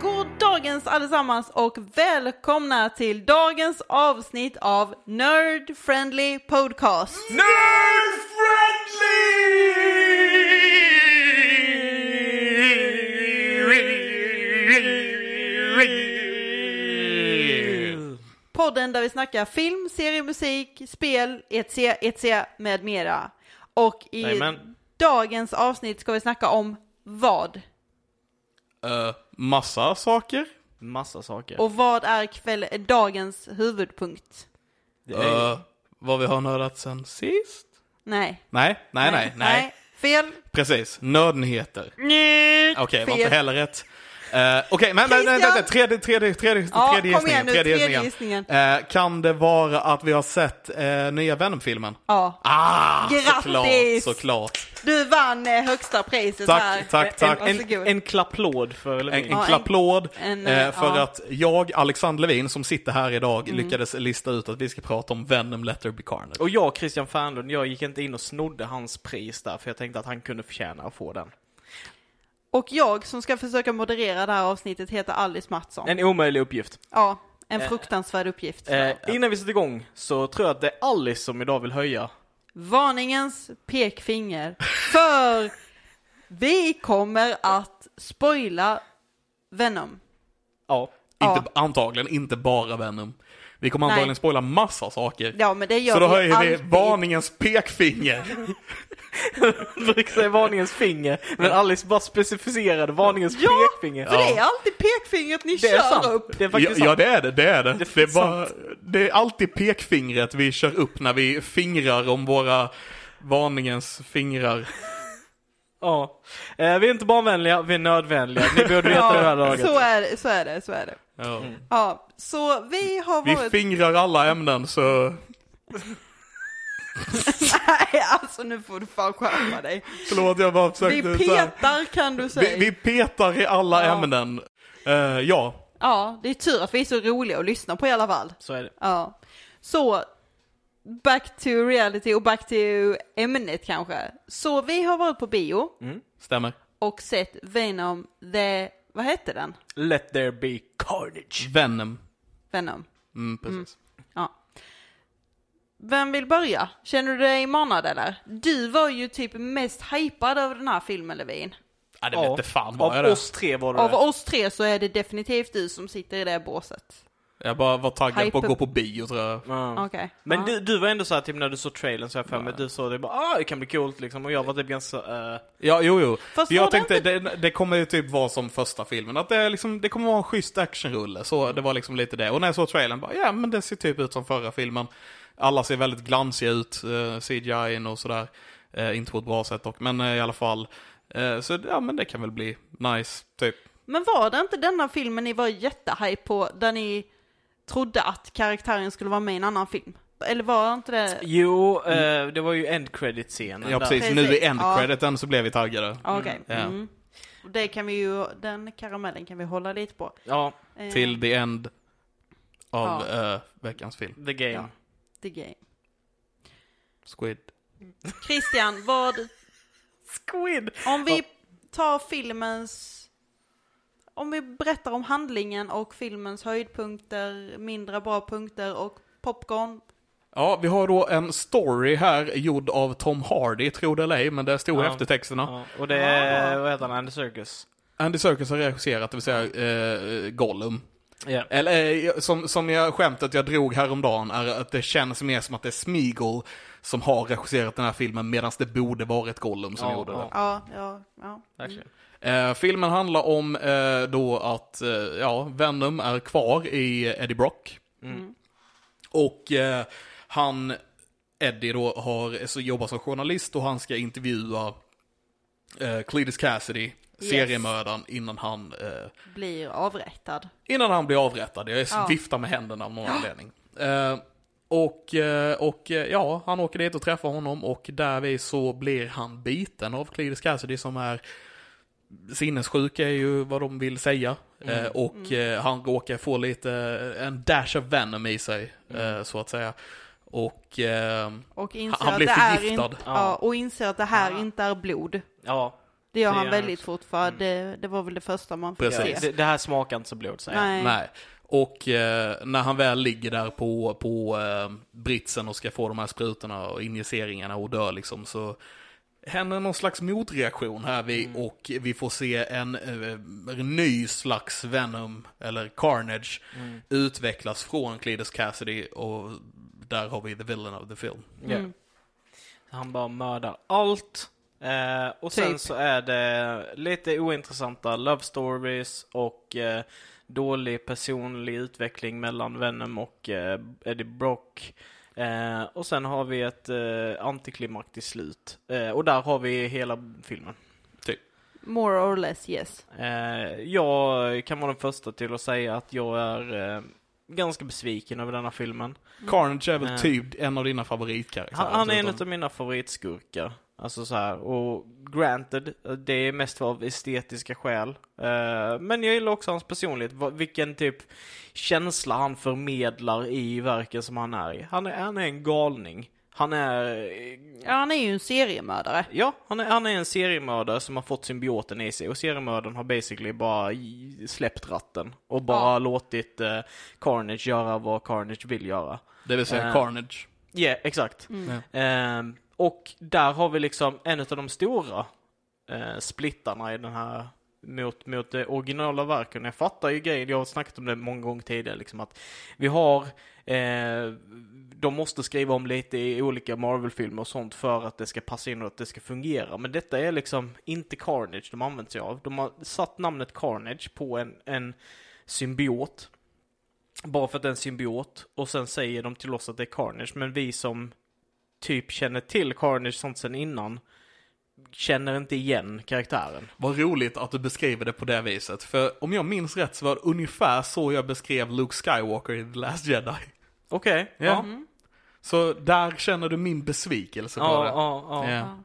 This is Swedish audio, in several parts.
God dagens allesammans och välkomna till dagens avsnitt av Nerd Friendly Podcast. Nerd friendly! Podden där vi snackar film, serie, musik, spel, etc, etc med mera. Och i Jajamän. dagens avsnitt ska vi snacka om vad? Uh, massa saker? Massa saker. Och vad är kväll, dagens huvudpunkt? Det är- Eh, vad vi har nördat sen sist? Nej. Nej, nej, nej, nej. Fel. Precis, nördnyheter. Okej, var inte Fel. heller rätt. Eh, Okej, men, men, men Christian! vänta, tredje, tredje, tredje, Ja, tredje kom gissningen. igen nu, tredje Eh, kan det vara att vi har sett eh, nya Venom-filmen? Ja. Ah, Grattis! såklart, såklart. Du vann eh, högsta priset Tack, här. tack, tack. En, En, en klapplåd för En, en Levin. Ja, en- klapplåd en, eh, eh, för ja. Mm. att jag, Alexander Levin, som sitter här idag, lyckades lista ut att vi ska prata om Venom Letter Be Carnage. Och jag, Christian Fernlund, jag gick inte in och snodde hans pris där, för jag tänkte att han kunde förtjäna att få den. Och jag som ska försöka moderera det här avsnittet heter Alice Mattsson. En omöjlig uppgift. Ja, en fruktansvärd uppgift. Eh, innan vi sätter igång så tror jag att det är Alice som idag vill höja. Varningens pekfinger. För vi kommer att spoila Venom. Ja. Ja. Inte, antagligen inte bara Venom. Vi kommer Nej. antagligen spoila massa saker. Ja, men det gör Så då vi höjer vi alltid. varningens pekfinger. Brukar säga varningens finger, men Alice bara specificerade varningens Ja, pekfinger. För det är alltid pekfingret ni Det är kör sant. upp. Det är Ja, faktiskt ja, sant. det är det. Det är det. Det är Det är, bara, det är alltid pekfingret vi kör upp när vi fingrar om våra varningens fingrar. Ja. Eh, vi är inte barnvänliga, vi är nödvändiga. Ni borde veta det här laget. så är det, så är det, så är det. Ja. Ja, så vi har Vi varit... fingrar alla ämnen så Nej, alltså nu får du fan skärpa dig. förlåt jag bara Vi försökte. så här. petar kan du säga. vi, vi petar i alla Ja. ämnen. Eh, ja, Ja, det är tur att vi är så roliga att lyssna på i alla fall. Så är det. Ja. Så, back to reality och back to ämnet kanske. Så vi har varit på bio stämmer. och sett Venom the, vad hette den? Let there be carnage. Venom. Venom. Mm, precis. Ja. Vem vill börja? Känner du dig manad eller? Du var ju typ mest hypad över den här filmen Levin. Ja, Ah, det vete fan vad Av jag är det. oss tre var det Av det. oss tre så är det definitivt du som sitter i det båset. Jag bara var taggad på att Hyper- gå på bio tror jag. Ja. Okej. Men Ja. du, du var ändå såhär, typ när du såg trailern så jag för mig, du såg det bara ah, det kan bli coolt liksom. Och jag var typ ganska, eh, Ja, jo, jo. Fast jag var det tänkte, inte- det, det kommer ju typ vara som första filmen, att det, är liksom, det kommer vara en schysst actionrulle. Så det var liksom lite det. Och när jag såg trailern, bara, ja men det ser typ ut som förra filmen. Alla ser väldigt glansiga ut, eh, CGI och sådär. Eh, inte på ett bra sätt dock, men eh, i alla fall. Eh, så ja, men det kan väl bli nice, typ. Men var det inte denna filmen ni var jättehype på, där ni trodde att karaktären skulle vara med i en annan film? Eller var inte det... jo, eh, det var ju end credit scenen Ja, precis. Precis, Nu i end ja. crediten så blev vi taggade. Ja, Okej. Ja. Mm. Och Det kan vi ju, den karamellen kan vi hålla lite på. Ja, Eh, Till the end av Ja. eh, veckans film, the game. Ja. the game. Squid. Christian, vad, Squid! om vi tar filmens, om vi berättar om handlingen och filmens höjdpunkter, mindre bra punkter och popcorn. Ja, vi har då en story här gjord av Tom Hardy, tror det eller ej, men det stod i Ja. eftertexterna. Ja, och det är, vad heter han, Andy Serkis? Andy Serkis har regisserat, det vill säga eh, Gollum. Ja. Eller eh, som, som jag skämtet jag drog häromdagen är att det känns mer som att det är Smeagol som har regisserat den här filmen medan det borde varit Gollum som Ja, gjorde ja. det. Ja, ja, ja. Verkligen. Eh, filmen handlar om eh, då att eh, ja, Venom är kvar i Eddie Brock. Och eh, han, Eddie då, har, så jobbar som journalist och han ska intervjua eh, Cletus Cassidy seriemördaren innan han, eh, Blir avrättad. innan han blir avrättad. Jag Ja. viftar med händerna av någon anledning. Eh, och, eh, och eh, ja, han åker dit och träffar honom och därvid så blir han biten av Cletus Cassidy som är sinnessjuk är ju vad de vill säga. Mm. Eh, och eh, han råkar få lite, eh, en dash av venom i sig, Mm. eh, så att säga. Och eh, Och inser Han att blir det är förgiftad. inte, ja, och inser att det här inte är blod. Ja, Det gör Det han gör väldigt han Mm. fort för det, det var väl det första man fick Precis. se. det, det här smakar inte så blod säger jag. Nej. Nej. Och eh, när han väl ligger där på, på eh, britsen och ska få de här sprutorna och injiceringarna och dör liksom så händer någon slags motreaktion här vi, Mm. och vi får se en eh, ny slags Venom, eller Carnage, Mm. utvecklas från Cletus Cassidy och där har vi the villain of the film. Ja. Mm. Han bara mördar allt. Eh, och sen Typ. så är det lite ointressanta love stories och eh, dålig personlig utveckling mellan Venom och eh, Eddie Brock. Eh, och sen har vi ett eh, antiklimaktiskt slut. Eh, och där har vi hela filmen. More or less yes. Eh, jag kan vara den första till att säga att jag är eh, ganska besviken över denna filmen. Carnage är väl Mm. typ en av dina favoritkaraktärer? Han, han är en förutom- av mina favoritskurkar. Alltså så här, och granted, det är mest av estetiska skäl. Eh, men jag gillar också hans personlighet, vad- vilken typ känsla han förmedlar i verken som han är i. Han är, han är en galning. Han är... Ja, han är ju en seriemördare. Ja, han är, han är en seriemördare som har fått symbioten i sig och seriemördaren har basically bara i- släppt ratten och bara Ja. låtit eh, Carnage göra vad Carnage vill göra. Det vill säga Eh. Carnage. Ja, exakt. Ehm, och där har vi liksom en av de stora eh, splittarna i den här mot, mot det originala verken. Jag fattar ju grejen, jag har snackat om det många gånger tidigare, liksom att vi har, eh, de måste skriva om lite i olika Marvel-filmer och sånt för att det ska passa in och att det ska fungera. Men detta är liksom inte Carnage de använt sig av. De har satt namnet Carnage på en, en symbiot bara för att det är en symbiot och sen säger de till oss att det är Carnage men vi som typ känner till Carnage sånt sen innan känner inte igen karaktären. Vad roligt att du beskriver det på det viset, för om jag minns rätt så var det ungefär så jag beskrev Luke Skywalker i The Last Jedi. Okej, Ja. Så där känner du min besvikelse på Mm. ja, det. ja, ja. Ja.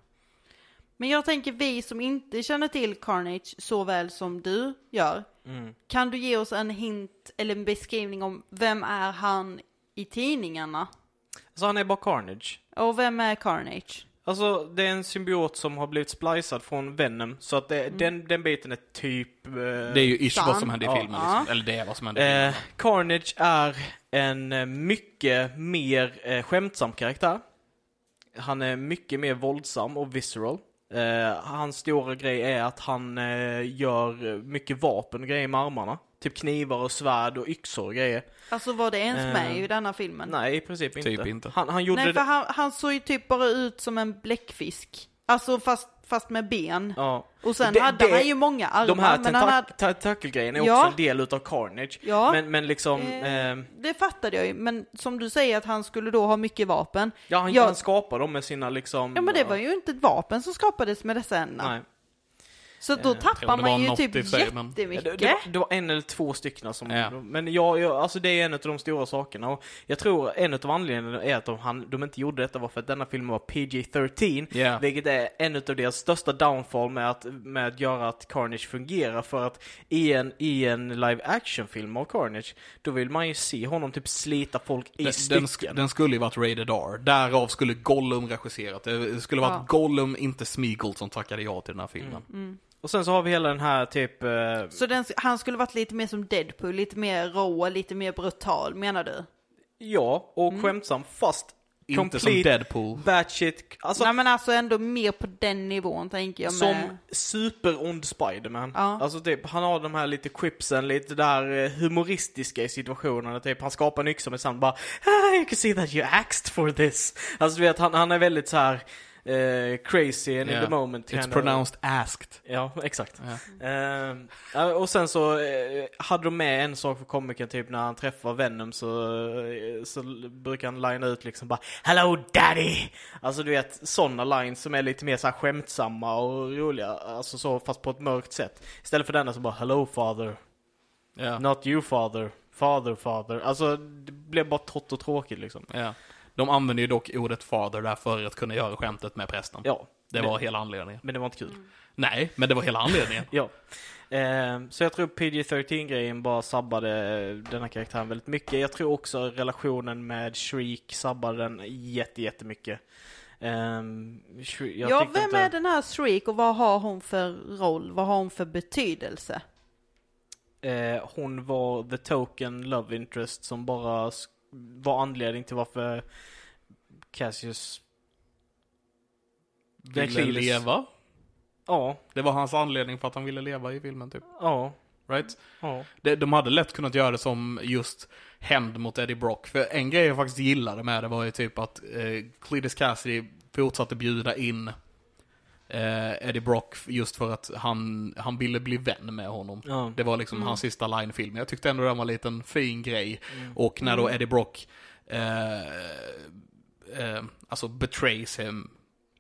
Men jag tänker vi som inte känner till Carnage så väl som du gör. Mm. Kan du ge oss en hint eller en beskrivning om vem är han i tidningarna? Så han är bara Carnage. Och vem är Carnage? Alltså det är en symbiot som har blivit splicad från Venom så att det, den, den biten är typ... eh, Mm. Det är ju ish vad Sant. som hände i Ja. filmen, Ja. liksom. eller det är vad som hände i Eh, filmen. Carnage är en eh, mycket mer eh, skämtsam karaktär. Han är mycket mer våldsam och visceral. Eh, hans stora grej är att han eh, gör eh, mycket vapen och grejer med armarna. Typ knivar och svärd och yxor och grejer. Alltså var det ens Eh, med i denna filmen? Nej, i princip inte. Typ inte. Han, han gjorde Nej, för det... han, han såg ju typ bara ut som en bläckfisk. Alltså fast, fast med ben. Ja. Och sen Det- hade det- han ju många armar. De här men han tenta- hade, tentakelgrejerna är Ja. också en del utav Carnage. Ja. Men, men liksom... Eh, Eh, det fattade jag ju, men som du säger att han skulle då ha mycket vapen. ja, han, jag- han skapar dem med sina liksom... Ja men det var ju inte ett vapen som skapades med dessa ändar. Nej. Så då Eh, tror tappar det man var ju något typ i sig, men- jättemycket. Ja, Det, det, var, det var en eller två stycken som... Ja. Men jag, jag, alltså det är en av de stora sakerna. Och jag tror en av anledningarna är att de, han, de inte gjorde detta var för att denna filmen var PG-13. Ja. Vilket är en av deras största downfall med att, med att göra att Carnage fungerar. För att i en, i en live action-film av Carnage, då vill man ju se honom typ slita folk i Den- Den, sk- stycken. den skulle ju varit Rated R, därav skulle Gollum regisserat. Eh, Det skulle varit Ja. Gollum, inte Smeagol, som tackade ja till den här filmen. Mm. Och sen så har vi hela den här typ... eh, Så den, han skulle varit lite mer som Deadpool, lite mer rå, lite mer brutal menar du? ja, och skämtsam fast... Inte som complete Deadpool. Batshit, alltså Nej men alltså ändå mer på den nivån tänker jag Som med. superond Spiderman. Ja. Alltså typ, han har de här lite quipsen, lite där eh, humoristiska i situationerna. Typ, han skapar en yxa med sand bara ah, You can see that you axed for this. Alltså du vet, han, han är väldigt så här eh, eh, crazy and Yeah. in the moment. kind It's of- pronounced asked. Ja, exakt. Ehm, ja, och sen så eh, hade de med en sak för komikern typ när han träffar Venom så, eh, så brukar han linea ut liksom bara Hello daddy! Alltså du vet sådana lines som är lite mer så här skämtsamma och roliga, alltså så fast på ett mörkt sätt. Istället för denna som bara Hello father, Ja. not you father, father father. Alltså det blev bara torrt och tråkigt liksom. Ja. De använder ju dock ordet fader där för att kunna göra skämtet med prästen. Ja, Det var hela anledningen. men det var inte kul. Nej, men det var hela anledningen. Ja. Ehm, så jag tror PG-13-grejen bara sabbade eh, den här karaktären väldigt mycket. Jag tror också relationen med Shriek sabbade den jätte, jättemycket. Um, Shriek, jag ja, tyckte vem inte- är den här Shriek och vad har hon för roll? Vad har hon för betydelse? Eh, hon var the token love interest som bara sk- var anledning till varför Cassius... Det är Ville Cletus. leva. Ja, Det var hans anledning för att han ville leva i filmen, typ. ja, Right? ja. Det- De hade lätt kunnat göra det som just hämnd mot Eddie Brock. För en grej jag faktiskt gillade med det var ju typ att eh, Cletus Cassidy fortsatte bjuda in eh, Eddie Brock just för att han, han ville bli vän med honom. ja. Det var liksom hans sista line-film. Jag tyckte ändå den var en liten fin grej. Mm. Och när då Eddie Brock eh, eh, alltså betrays him,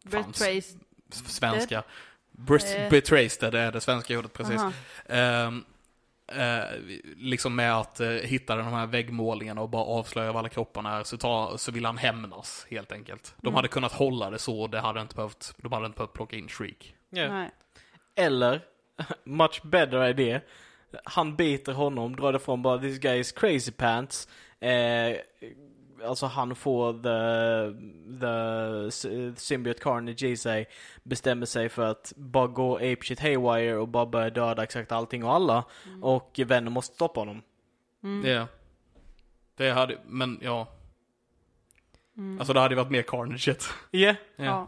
Fan, Betrays. s- svenska. Bret- Typ. Eh. Betrays det, det är det svenska ordet precis. Aha. Ehm, eh, liksom med att eh, hitta de här väggmålningarna och bara avslöja var alla kropparna är så, ta, så vill han hämnas helt enkelt. Mm. De hade kunnat hålla det så, det hade inte behövt, de hade inte behövt plocka in Shriek. Ja. Nej. Eller, much better idé, han biter honom, drar det från bara this guy is crazy pants. Eh, alltså han får the, the sy- symbiote carnage i sig, bestämmer sig för att bara gå apeshit haywire och bara börja döda exakt allting och alla. Mm. Och vänner måste stoppa honom. Det, det hade, men ja. Alltså det hade ju varit mer carnage. Yeah. mm. Ja. Ja.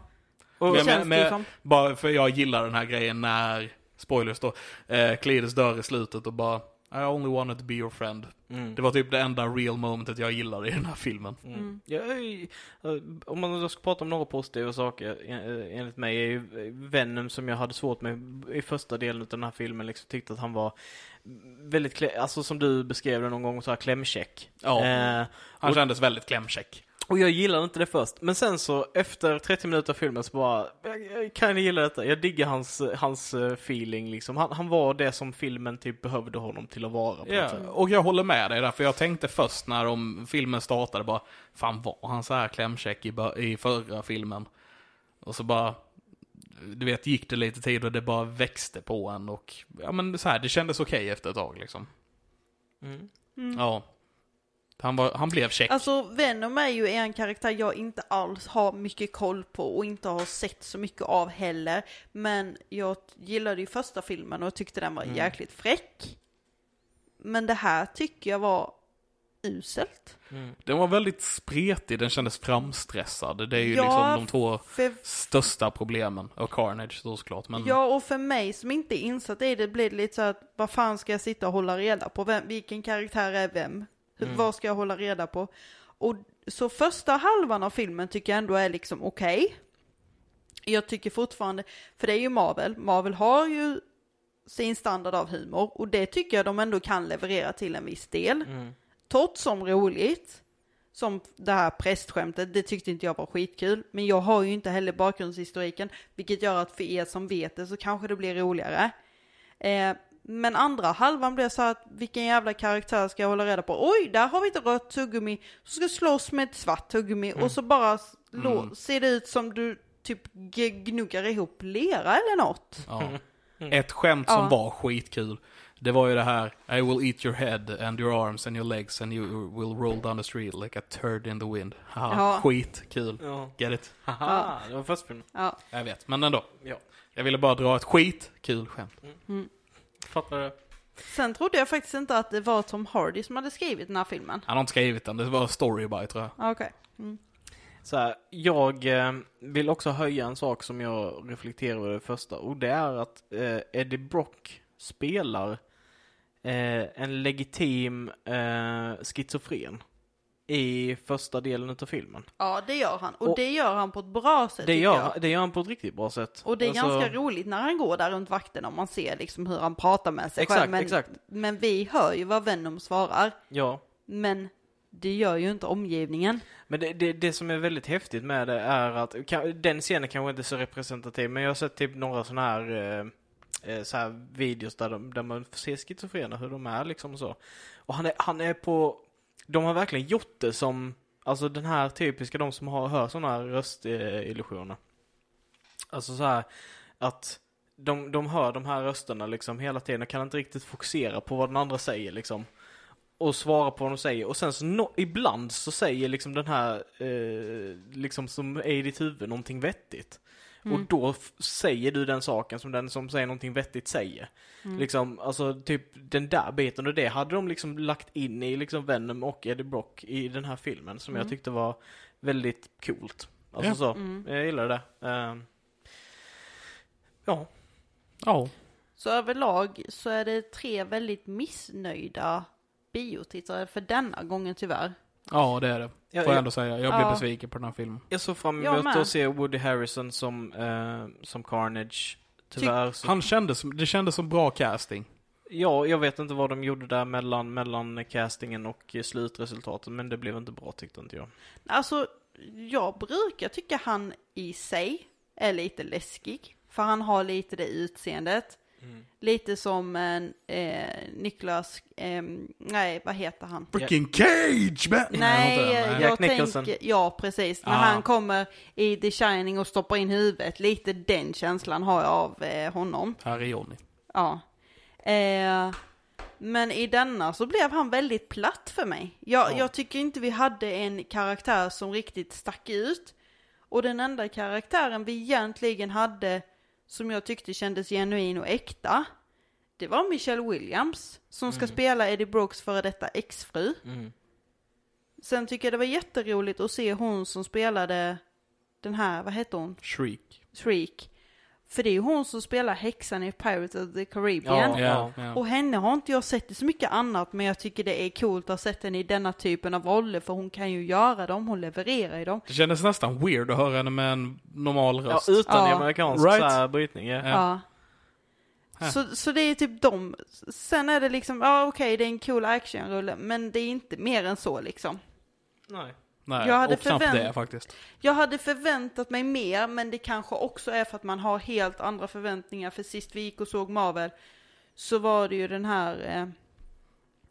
Och, Men- känns liksom. det men- ju som. Bara för jag gillar den här grejen när, spoilers då, eh, Cletus dör i slutet och bara I only wanted to be your friend. Mm. Det var typ det enda real momentet jag gillade i den här filmen. Mm. Ja, eh, om man då ska prata om några positiva saker eh, enligt mig är ju Venom som jag hade svårt med i första delen av den här filmen liksom tyckte att han var väldigt, klä- alltså som du beskrev det någon gång så här klämkäck. Ja, Eh, han och- kändes väldigt klämkäck. och jag gillade inte det först, men sen så efter 30 minuter av filmen så bara, jag, jag kan gilla detta, jag diggar hans, hans eh, feeling liksom. Han, han var det som filmen typ behövde honom till att vara på något Ja, sätt. och jag håller med dig där, för jag tänkte först när de, filmen startade bara, fan var han så här klämkäck i, bör- i förra filmen? Och så bara, du vet, gick det lite tid och det bara växte på en och, ja men så här, det kändes okej efter ett tag liksom. Mm. Ja. Han, var, han blev käck. Alltså Venom är ju en karaktär jag inte alls har mycket koll på och inte har sett så mycket av heller. Men jag gillade ju första filmen och tyckte den var jäkligt fräck. Men det här tycker jag var uselt. Den var väldigt spretig, den kändes framstressad. Det är ju Ja, liksom de två För, största problemen. Och Carnage då såklart. Men Ja, och för mig som inte är insatt i det blir det lite så att vad fan ska jag sitta och hålla reda på? Vem, vilken karaktär är vem? Hur- Vad ska jag hålla reda på? Och så första halvan av filmen tycker jag ändå är liksom okej. Jag tycker fortfarande, för det är ju Marvel, Marvel har ju sin standard av humor och det tycker jag de ändå kan leverera till en viss del. Torrt som roligt, som det här prästskämtet, det tyckte inte jag var skitkul. Men jag har ju inte heller bakgrundshistoriken, vilket gör att för er som vet det så kanske det blir roligare. Eh, men andra halvan blev så här att vilken jävla karaktär ska jag hålla reda på? Oj, där har vi ett rött tuggummi. Så ska jag slåss med ett svart tuggummi Mm. och så bara s- lå- ser det ut som du typ g- gnuggar ihop lera eller något. ja. Ett skämt som Ja. var skitkul. Det var ju det här I will eat your head and your arms and your legs and you will roll down the street like a turd in the wind. Haha, Ja. skitkul. Ja. Get it? Haha, det var första filmen. Ja. Jag vet, men ändå. Ja. Jag ville bara dra ett skitkul skämt. Fattar du? Sen trodde jag faktiskt inte att det var Tom Hardy som hade skrivit den här filmen. Han har inte skrivit den, det var story by tror jag. Ja, Okej. Så här, jag eh, vill också höja en sak som jag reflekterar över det första och det är att eh, Eddie Brock spelar eh, en legitim eh, schizofren i första delen av filmen. Ja, det gör han. Och, Och- det gör han på ett bra sätt Det tycker gör, jag. det gör han på ett riktigt bra sätt. Och det är Alltså, ganska roligt när han går där runt vakten om man ser liksom hur han pratar med sig Exakt, själv. Men, exakt. men vi hör ju vad Venom svarar. Ja. Men det gör ju inte omgivningen. Men det, det, det som är väldigt häftigt med det är att, ka- den scenen kanske inte är så representativ, men jag har sett typ några sådana här, eh, eh, så här videos där, de, där man ser schizofrena, hur de är liksom och så. Och han är, han är på, de har verkligen gjort det som, alltså den här typiska, de som har, hör sådana här röstillusioner. Alltså så här att de, de hör de här rösterna liksom hela tiden och kan inte riktigt fokusera på vad den andra säger liksom och svara på vad de säger och sen så no- ibland så säger liksom den här eh, liksom som är i ditt huvud någonting vettigt. Mm. Och då f- säger du den saken som den som säger någonting vettigt säger. Mm. Mm. Liksom, alltså typ den där biten och det hade de liksom lagt in i liksom Venom och Eddie Brock i den här filmen som jag tyckte var väldigt coolt. Alltså Mm. Ja. så, Mm. jag gillar det. Ehm. ja. Ja. Så överlag så är det tre väldigt missnöjda biotittare för denna gången tyvärr. ja, det är det. Får Ja, jag ja. ändå säga. Jag blev Ja. besviken på den här filmen. Jag såg fram Jag emot med. att se Woody Harrison som, eh, som Carnage. Tyvärr så... Han kändes som, det kändes som bra casting. Ja, jag vet inte vad de gjorde där mellan, mellan castingen och eh, slutresultatet, men det blev inte bra tyckte inte jag. Alltså, jag brukar tycka han i sig är lite läskig. För han har lite det utseendet. Lite som en eh, Niklas, eh, nej vad heter han? Freaking cage man! Nej, inte den, jag Jack Nicholson. tänker, ja precis, när Ah. han kommer i The Shining och stoppar in huvudet, lite den känslan har jag av eh, honom. Här är Johnny. Ja. Eh, men i denna så blev han väldigt platt för mig. Jag, Ja. jag tycker inte vi hade en karaktär som riktigt stack ut. Och den enda karaktären vi egentligen hade som jag tyckte kändes genuin och äkta, det var Michelle Williams som ska spela Eddie Brooks före detta exfru. Mm. Sen tycker jag det var jätteroligt att se hon som spelade den här, vad hette hon? Shriek. Shriek. För det är ju hon som spelar häxan i Pirates of the Caribbean. Ja, Ja, ja. Och henne har inte jag sett i så mycket annat, men jag tycker det är coolt att ha sett henne i denna typen av roller, för hon kan ju göra dem, hon levererar i dem. Det kändes nästan weird att höra henne med en normal Ja, röst. utan Ja. amerikansk Right. så här brytning. Ja. Ja. Ja. Här. Så, så det är typ de. Sen är det liksom, ja okej det är en cool actionrulle, men det är inte mer än så liksom. Nej. Nej, jag hade och knappt förvänt- det faktiskt. Jag hade förväntat mig mer, men det kanske också är för att man har helt andra förväntningar, för sist vi gick och såg Marvel så var det ju den här eh, En-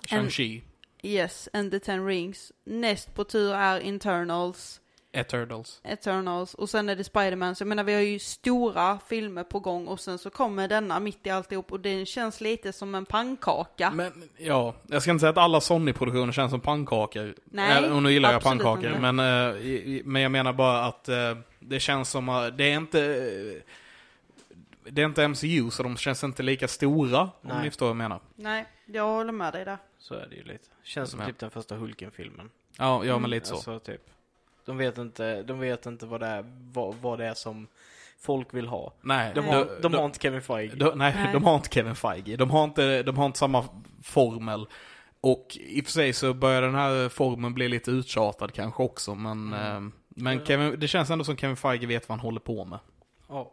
Shang-Chi, Yes and the Ten Rings. Näst på tur är Internals. Eternals. Eternals och sen är det Spider-Man. Så jag menar vi har ju stora filmer på gång och sen så kommer denna mitt i alltihop och den känns lite som en pannkaka. Mm. Men ja, jag ska inte säga att alla Sony-produktioner känns som pannkakor. Nej, och nu gillar jag absolut pannkakor, inte. men, eh, i- i- men jag menar bara att eh, det känns som att det är inte... eh, det är inte MCU, så de känns inte lika stora, om Nej. ni förstår vad jag menar. Nej, jag håller med dig där. Så är det ju lite. Känns som Ja. typ den första Hulken-filmen. Ja, ja men lite så. Alltså, typ. De vet inte, de vet inte vad, det är, vad, vad det är som folk vill ha. nej, De då- har, de då- har inte Kevin Feige. De, nej, Nej. de har inte Kevin Feige. De har inte, de har inte samma formel. Och i och för sig så börjar den här formen bli lite uttjatad kanske också, men, Mm. eh, men Kevin, det känns ändå som Kevin Feige vet vad han håller på med. Ja.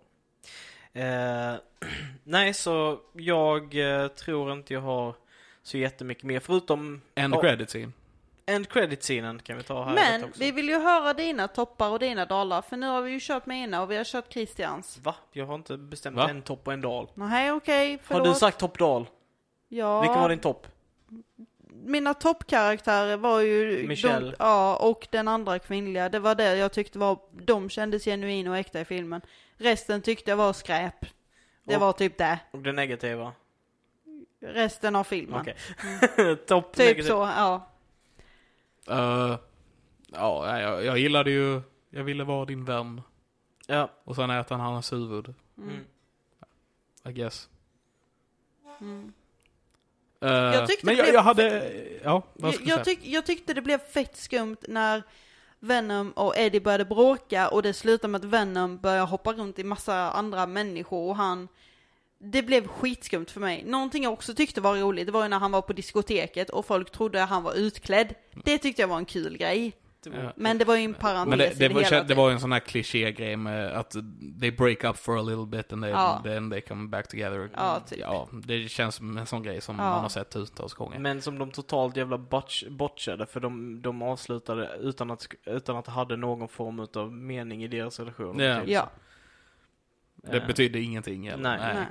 Eh, nej, så jag eh, tror inte jag har så jättemycket mer, förutom End Ja. credit scene. end credit-scenen kan vi ta här lite Men också. vi vill ju höra dina toppar och dina dalar för nu har vi ju kört mina och vi har kört Christians. Va? Jag har inte bestämt Va? en topp och en dal. Nej okej, förlåt. Har du sagt toppdal? ja, Vilken var din topp? Mina toppkaraktärer var ju... Michelle. De, ja, och den andra kvinnliga. Det var det jag tyckte var... De kändes genuina och äkta i filmen. Resten tyckte jag var skräp. Det Och- var typ det. Och det negativa? Resten av filmen. Okej. topp Typ negativ. så, ja. Eh, ja, nej, jag, jag gillade ju, jag ville vara din vän. Ja. Och sen äter han hans huvud, Mm. I guess. Mm. Eh, tyckte men det jag, blev- jag hade, ja, vad Jag, ska jag, jag säga? tyck, jag tyckte det blev fett skumt när Venom och Eddie började bråka och det slutar med att Venom börjar hoppa runt i massa andra människor och han det blev skitskumt för mig. Någonting jag också tyckte var roligt, det var ju när han var på diskoteket och folk trodde att han var utklädd. Det tyckte jag var en kul grej. Ja. Men det var ju en parentes Men det, det, i det var, hela. det var ju en sån här klichégrej med att they break up for a little bit and they, Ja. then they come back together. Ja, typ. ja, det känns som en sån grej som Ja. man har sett tusentals gånger. Men som de totalt jävla botch, botchade för de, de avslutade utan att, utan att det hade någon form utav mening i deras relation. Ja. typ. Ja, det Eh, betyder ingenting. Eller? Nej. nej.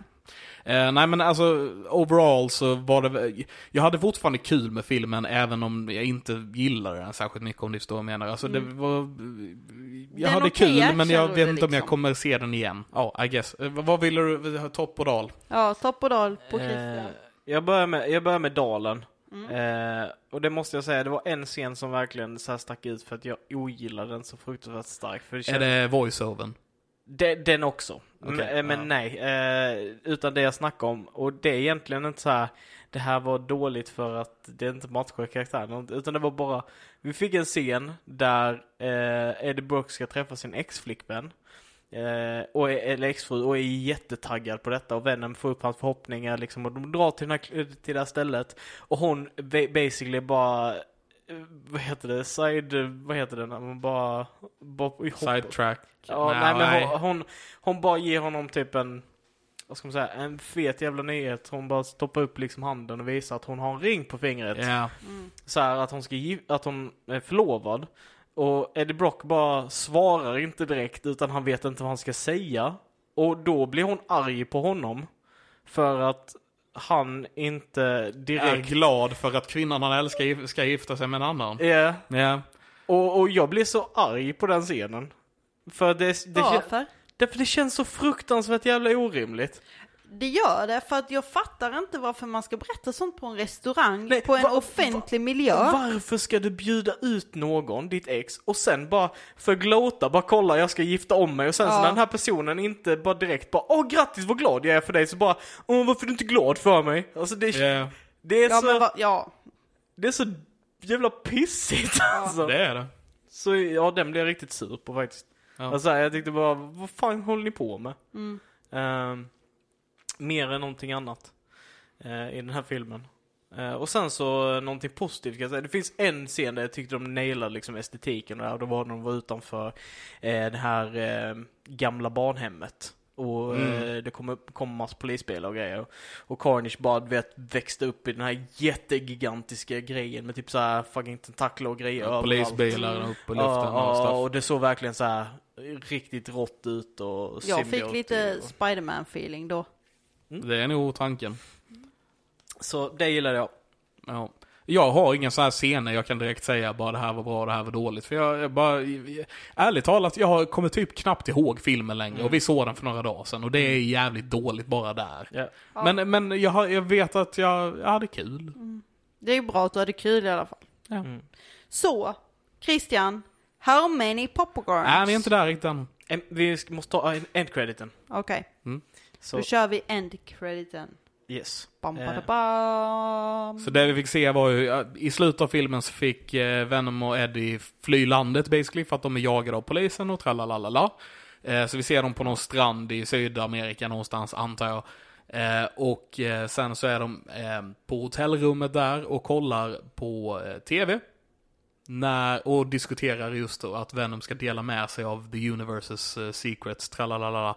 Eh, nej men alltså overall så var det väl- Jag hade fortfarande kul med filmen även om jag inte gillade den särskilt mycket om du förstår vad jag menar. Alltså Mm. det var... Jag är hade en okej kul men jag actionrulle, vet inte om jag liksom. kommer se den igen. Ja, I guess. Eh, vad ville du? Topp och dal? ja topp och dal på Mm. Christian. Eh, jag, börjar med, jag börjar med dalen. Eh, och det måste jag säga, det var en scen som verkligen så här stack ut för att jag ogillade den så fruktansvärt starkt. För det Är det voice-overn? De, den också. men, Okej, eh, men ja. nej, eh, utan det jag snackade om. Och det är egentligen inte så här, det här var dåligt för att det inte matchar karaktären. Utan det var bara, vi fick en scen där eh, Eddie Brooks ska träffa sin ex-flickvän. Eh, och, är- eller exfru och är jättetaggad på detta och vännen får upp hans förhoppningar liksom och de drar till, den här, till det här stället och hon ba- basically bara eh, vad heter det, side, vad heter det när man bara, bara hoppar- Sidetrack? Ja, nej, men hon, hon, hon bara ger honom typ en, vad ska man säga, en fet jävla nyhet. Hon bara stoppar upp liksom handen och visar att hon har en ring på fingret. Ja. Så här att hon, ska ge, att hon är förlovad. Och Eddie Brock bara svarar inte direkt utan han vet inte vad han ska säga. Och då blir hon arg på honom. För att han inte är direkt... glad för att kvinnan han älskar gif- ska gifta sig med en annan. Ja, Ja. och, och jag blir så arg på den scenen. För det, det, kän- Varför? därför det känns så fruktansvärt jävla orimligt. Det gör det, för att jag fattar inte varför man ska berätta sånt på en restaurang, Nej, på en va- va- offentlig miljö. Varför ska du bjuda ut någon, ditt ex, och sen bara förglåta, bara kolla jag ska gifta om mig och sen så Ja. när den här personen inte bara direkt bara åh grattis vad glad jag är för dig så bara åh varför är du inte glad för mig? Alltså det, Ja, det, är, Ja, så, men va, ja. det är så jävla pissigt alltså. det är det. Så ja, den blev jag riktigt sur på faktiskt. Ja. Alltså, jag tyckte bara vad fan håller ni på med? Ehm, mer än någonting annat eh, i den här filmen. Eh, och sen så eh, någonting positivt kan jag säga. Det finns en scen där jag tyckte de nailade liksom estetiken och det här. Och det var när de var utanför eh, det här eh, gamla barnhemmet. Och Mm. eh, det kom, upp, kom massa polisbilar och grejer. Och Carnage bara du vet, växte upp i den här jättegigantiska grejen med typ så här fucking tentakler och grejer överallt. Polisbilar upp på luften Ja, och ja, stuff. och det såg verkligen så här riktigt rått ut och Jag fick symbioter lite och- Spiderman feeling då. Det är nog tanken. Så det gillade jag. Ja. Jag har inga sådana här scener jag kan direkt säga bara det här var bra, det här var dåligt. För jag, jag bara, ärligt talat, jag kommer typ knappt ihåg filmen längre. Mm. Och vi såg den för några dagar sedan och det är jävligt dåligt bara där. Ja. Mm. Men, men jag, har- jag vet att jag, jag hade kul. Det är ju bra att du hade kul i alla fall. Ja. Så, Christian, how many popcorns? Nej, vi är inte där riktigt än. En, vi sk- måste ta en- endcrediten. Okej, Så då kör vi end-crediten. yes. Bam, Eh, bada, bam. Så det vi fick se var ju, ja, i slutet av filmen så fick eh, Venom och Eddie fly landet basically för att de är jagade av polisen och tralalala. Eh, så vi ser dem på någon strand i Sydamerika någonstans antar jag. Eh, och eh, sen så är de eh, på hotellrummet där och kollar på eh, tv. När, och diskuterar just då att Venom ska dela med sig av the universes eh, secrets, tralalala.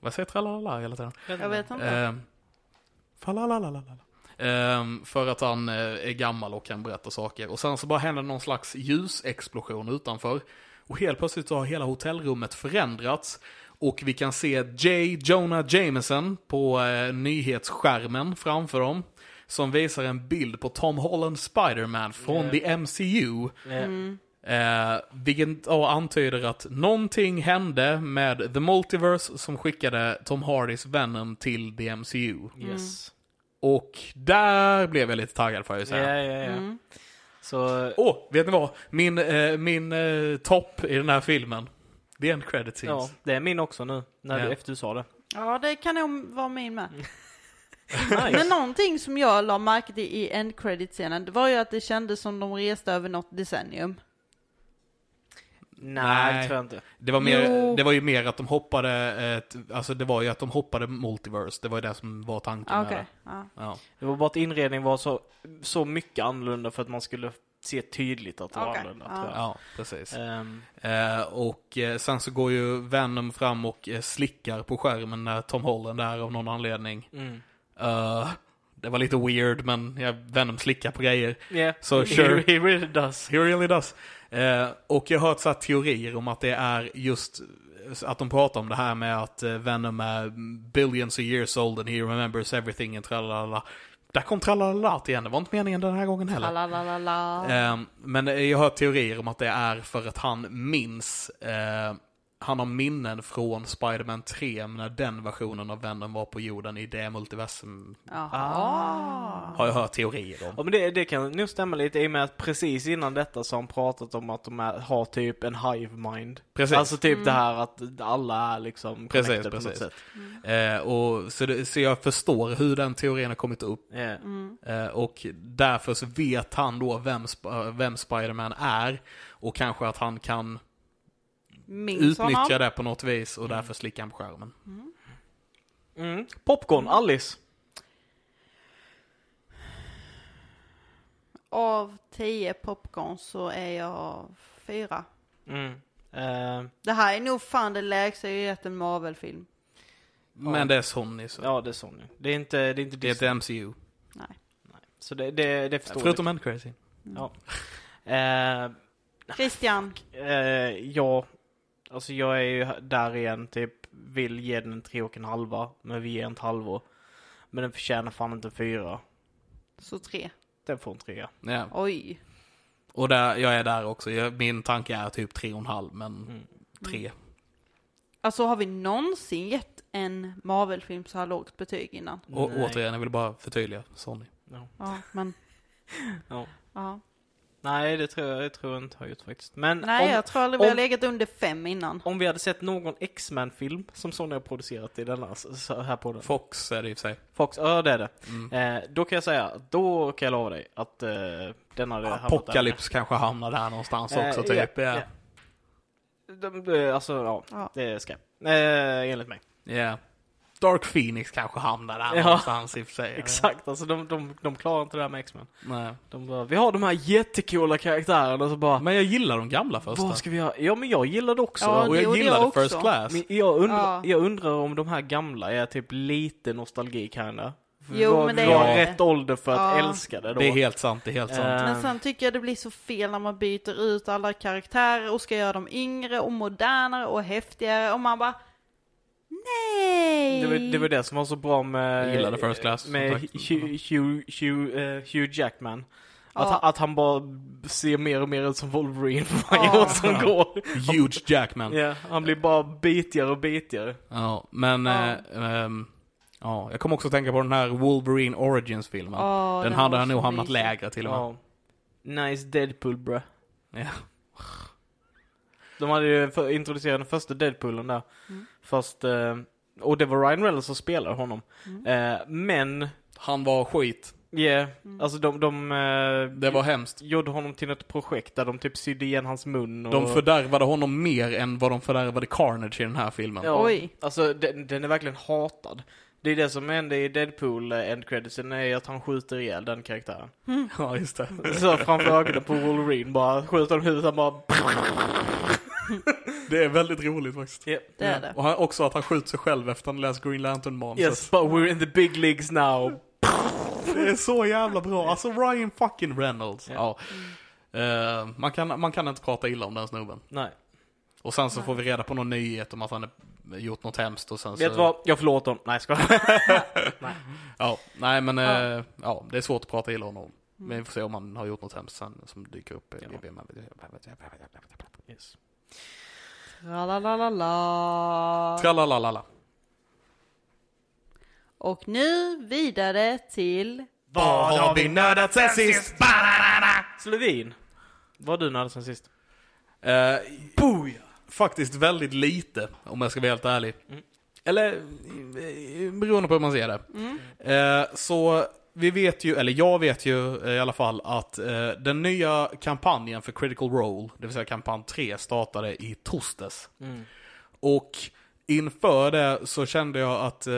Vad säger tralalala hela tiden? Jag vet inte. Eh. Ehm, falalalalala. Ehm, för att han eh, är gammal och kan berätta saker. Och sen så bara händer någon slags ljusexplosion utanför. Och helt plötsligt så har hela hotellrummet förändrats. Och vi kan se J. Jonah Jameson på eh, nyhetsskärmen framför dem. Som visar en bild på Tom Holland Spider-Man från Yeah. the MCU. Eh, Mm, Eh, vilket ja, antyder att någonting hände med The Multiverse som skickade Tom Hardys Venom till The MCU. mm. Yes. Och där blev jag lite taggad får jag ju Ja, ja, säga. ja. Mm. Så eh, Åh, vet ni vad? Min, eh, min eh, topp i den här filmen. Det är en credit ja, scenes. det är min också nu. När Ja. du, efter du sa det. Ja, det kan nog vara min med. Nice. Men någonting som jag la märke till i end-credit-scenen, det var ju att det kändes som de reste över något decennium. Nej, Nej. det tror jag inte. Det var, mer, Jo. det var ju mer att de hoppade, ett, alltså det var ju att de hoppade multiverse, det var ju det som var tanken Ah, med Okej. det. Ja. Ja. Det var bara att inredningen var så, så mycket annorlunda för att man skulle se tydligt att det var Okej, annorlunda. ja. Tror jag. ja, precis. Ehm, Eh, och eh, sen så går ju Venom fram och eh, slickar på skärmen när Tom Holland är av någon anledning. mm. Eh, det var lite weird, men ja, Venom slickar på grejer. yeah. So, He- sure. He really does. He really does. Eh, och jag har hört så här teorier om att det är just eh, att de pratar om det här med att eh, Venom är billions of years old and he remembers everything and tralalala. Där kom tralalala igen, det var inte meningen den här gången heller. Lalalala. Eh, men jag har hört teorier om att det är för att han minns, eh, han har minnen från Spider-Man 3 när den versionen av Venom var på jorden i det multiversum. Ah. Jaha. Har jag hört teorier om. Ja, men det, det kan nog stämma lite i och med att precis innan detta så har han pratat om att de är, har typ en hive mind. Precis. Alltså typ det här att alla är liksom Precis, connected på något precis. sätt. Eh, och, så, det, så jag förstår hur den teorin har kommit upp. Yeah. Eh, Och därför så vet han då vem, Sp- eh, vem Spider-Man är och kanske att han kan Minns honom? Mm. utnyttja det på något vis och därför slickar han på skärmen. Mm. Popcorn, Alice. Av 10 popcorn så är jag fyra. Mm. Eh, Det här är nog fan det lägsta jag gett en Marvel-film. Men det är Sony så. ja, det är Sony. Det är inte, det är inte Det är Disney. ett MCU. Nej. Så det, det, det förstår liksom. Förutom Man Crazy. vi. Eh, Christian, Eh, ja, alltså jag är ju där igen, typ vill ge den en tre och en halva, men vi ger en halvor. Men den förtjänar fan inte en fyra. så tre. Den får en trea. Ja. Oj. Och där, jag är där också. Jag, min tanke är typ tre och en halv men Mm. tre. Alltså har vi någonsin gett en Marvel-film så här lågt betyg innan? Och Nej. återigen, jag vill bara förtydliga Sony. Ja, men... Ja. Ja. Nej, det tror jag, jag tror jag inte har gjort faktiskt. Men Nej, om, jag tror aldrig vi har om- legat under fem innan. om vi hade sett någon X-Men-film som Sony har producerat i denna, så- så här på den. Fox är det i och för sig. Fox, ja det är det. Mm. Eh, då kan jag säga, då kan jag lova dig att eh, den hade hamnat där. Apocalypse kanske hamnar där någonstans Eh, också ja, typ. Ja. ja. De, de, alltså ja, Ja. det ska jag. Eh, enligt mig. Ja. Dark Phoenix kanske hamnar där Ja. någonstans i och för sig. Exakt, alltså de, de, de klarar inte det här med X-Men. Nej. De bara, vi har de här jättecoola karaktärerna och så bara, Men jag gillar de gamla första. vad ska vi göra? Ja men jag gillade också Ja, dem. Och det jag gjorde gillade jag också. First Class. Men jag, undrar, Ja. jag undrar om de här gamla är typ lite nostalgi kinda. För vi Jo, var, men det vi var är det. rätt ålder för att Ja. älska det då. Det är helt sant, det är helt sant. Eh, Men sen tycker jag det blir så fel när man byter ut alla karaktärer och ska göra dem yngre och modernare och häftigare och man bara Nej! det, var, det var det som var så bra med, Jag gillade First Class, som med sagt. Hugh, Hugh, Hugh, eh, Hugh Jackman. Att, Ja. han- att han bara ser mer och mer ut som Wolverine för varje Ja. år som går. Huge Jackman. Ja, han blir bara bitigare och bitigare. Ja, men... Ja. eh, ehm, ja, jag kommer också att tänka på den här Wolverine Origins-filmen. Ja, den, den hade var han så nog hamnat mysig. lägre till och med. Ja. Nice Deadpool bruh. Ja. De hade ju för- introducerat den första Deadpoolen där. Fast, eh, och det var Ryan Reynolds som spelade honom. Eh, men, Han var skit. yeah, alltså de, de eh, Det var hemskt. gjorde honom till ett projekt där de typ sydde igen hans mun och... De fördärvade honom mer än vad de fördärvade Carnage i den här filmen. ja, Oj. Alltså den, den är verkligen hatad. Det är det som hände i Deadpool eh, end creditsen är ju att han skjuter ihjäl den karaktären. Ja, just det. Så framför ögonen på Wolverine bara skjuter honom i huvudet, han bara... Det är väldigt roligt faktiskt. Yep. Det är det. Och han, också att han skjuter sig själv efter att han läst Green Lantern-manuset. Yes, but we're in the big leagues now. Det är så jävla bra. Alltså Ryan fucking Reynolds. Ja. Eh, man, kan, man kan inte prata illa om den snubben. Nej. Och sen så får vi reda på någon nyhet om att han har gjort något hemskt och sen Vet så... du vad? Jag förlåter honom. Nej, ska jag Ja, nej men Ja. eh, ja, det är svårt att prata illa om honom. Men vi får se om han har gjort något hemskt sen som dyker upp. i- Ja. yes. Tralalalala. Tralalalala. Och nu vidare till Vad har vi nördat sen sist? Slovin. Vad har du nördat sen sist? Eh, Boja! Faktiskt väldigt lite, om jag ska vara helt Mm. ärlig. Eller, eh, beroende på hur man ser det. Eh, så vi vet ju, eller jag vet ju eh, i alla fall, att eh, den nya kampanjen för Critical Role, det vill säga kampanj 3, startade i torsdags. Och inför det så kände jag att eh,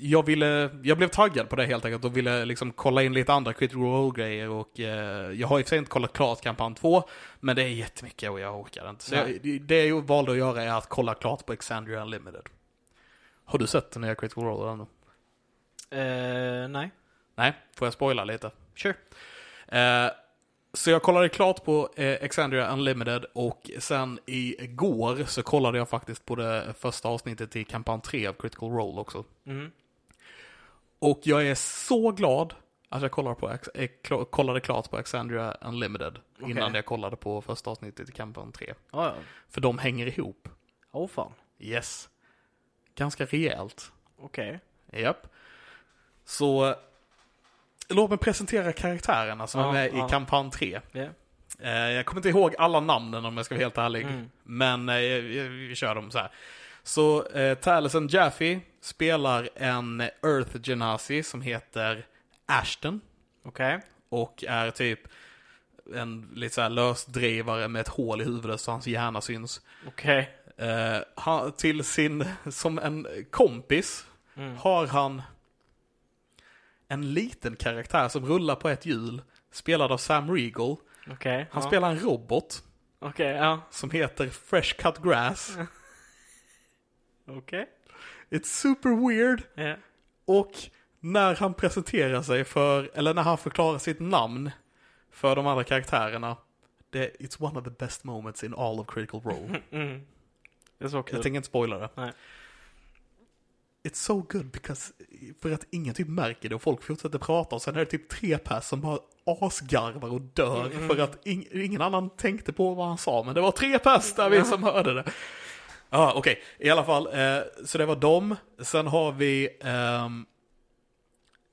jag ville, jag blev taggad på det helt enkelt och ville liksom kolla in lite andra Critical Role-grejer och eh, jag har i och för sig inte kollat klart kampanj 2, men det är jättemycket och jag orkar inte. Så Nej. jag, det jag valde att göra är att kolla klart på Exandria Unlimited. Har du sett den nya Critical Role ännu? Eh, nej. Nej, får jag spoila lite? Sure. Eh, så jag kollade klart på eh, Exandria Unlimited och sen igår så kollade jag faktiskt på det första avsnittet i kampanj 3 av Critical Role också. Mm. Och jag är så glad att jag kollade, på, Ex- eh, klo- kollade klart på Exandria Unlimited innan Okej. jag kollade på första avsnittet i kampanj 3. Ja, ja. För de hänger ihop. Åh fan. Yes. Ganska rejält. Okej. Japp. Så eh, låt mig presentera karaktärerna som Ja, är med ja. i kampanj 3. Ja. Eh, jag kommer inte ihåg alla namnen om jag ska vara helt ärlig. Mm. Men eh, vi, vi kör dem så här. Så eh, Taliesin Jaffe spelar en Earth Genasi som heter Ashton. Okej. Och är typ en lite så här lösdrivare med ett hål i huvudet så hans hjärna syns. Okej. Eh, han, till sin, som en kompis, Mm. har han en liten karaktär som rullar på ett hjul, spelad av Sam Regal. Okej. Han ja. spelar en robot Okej, ja. som heter Fresh Cut Grass. Okej. It's super weird. Ja. Och när han presenterar sig för, eller när han förklarar sitt namn för de andra karaktärerna, det, it's one of the best moments in all of critical role. Mm. Det är så kul. Jag tänker inte spoila det. Nej. It's so good because, för att ingen typ märker det och folk fortsätter prata och sen är det typ tre pers som bara asgarvar och dör Mm. för att ing, ingen annan tänkte på vad han sa men det var tre pers där vi som hörde det. Ja, ah, okej. I alla fall, eh, så det var dem. Sen har vi ehm,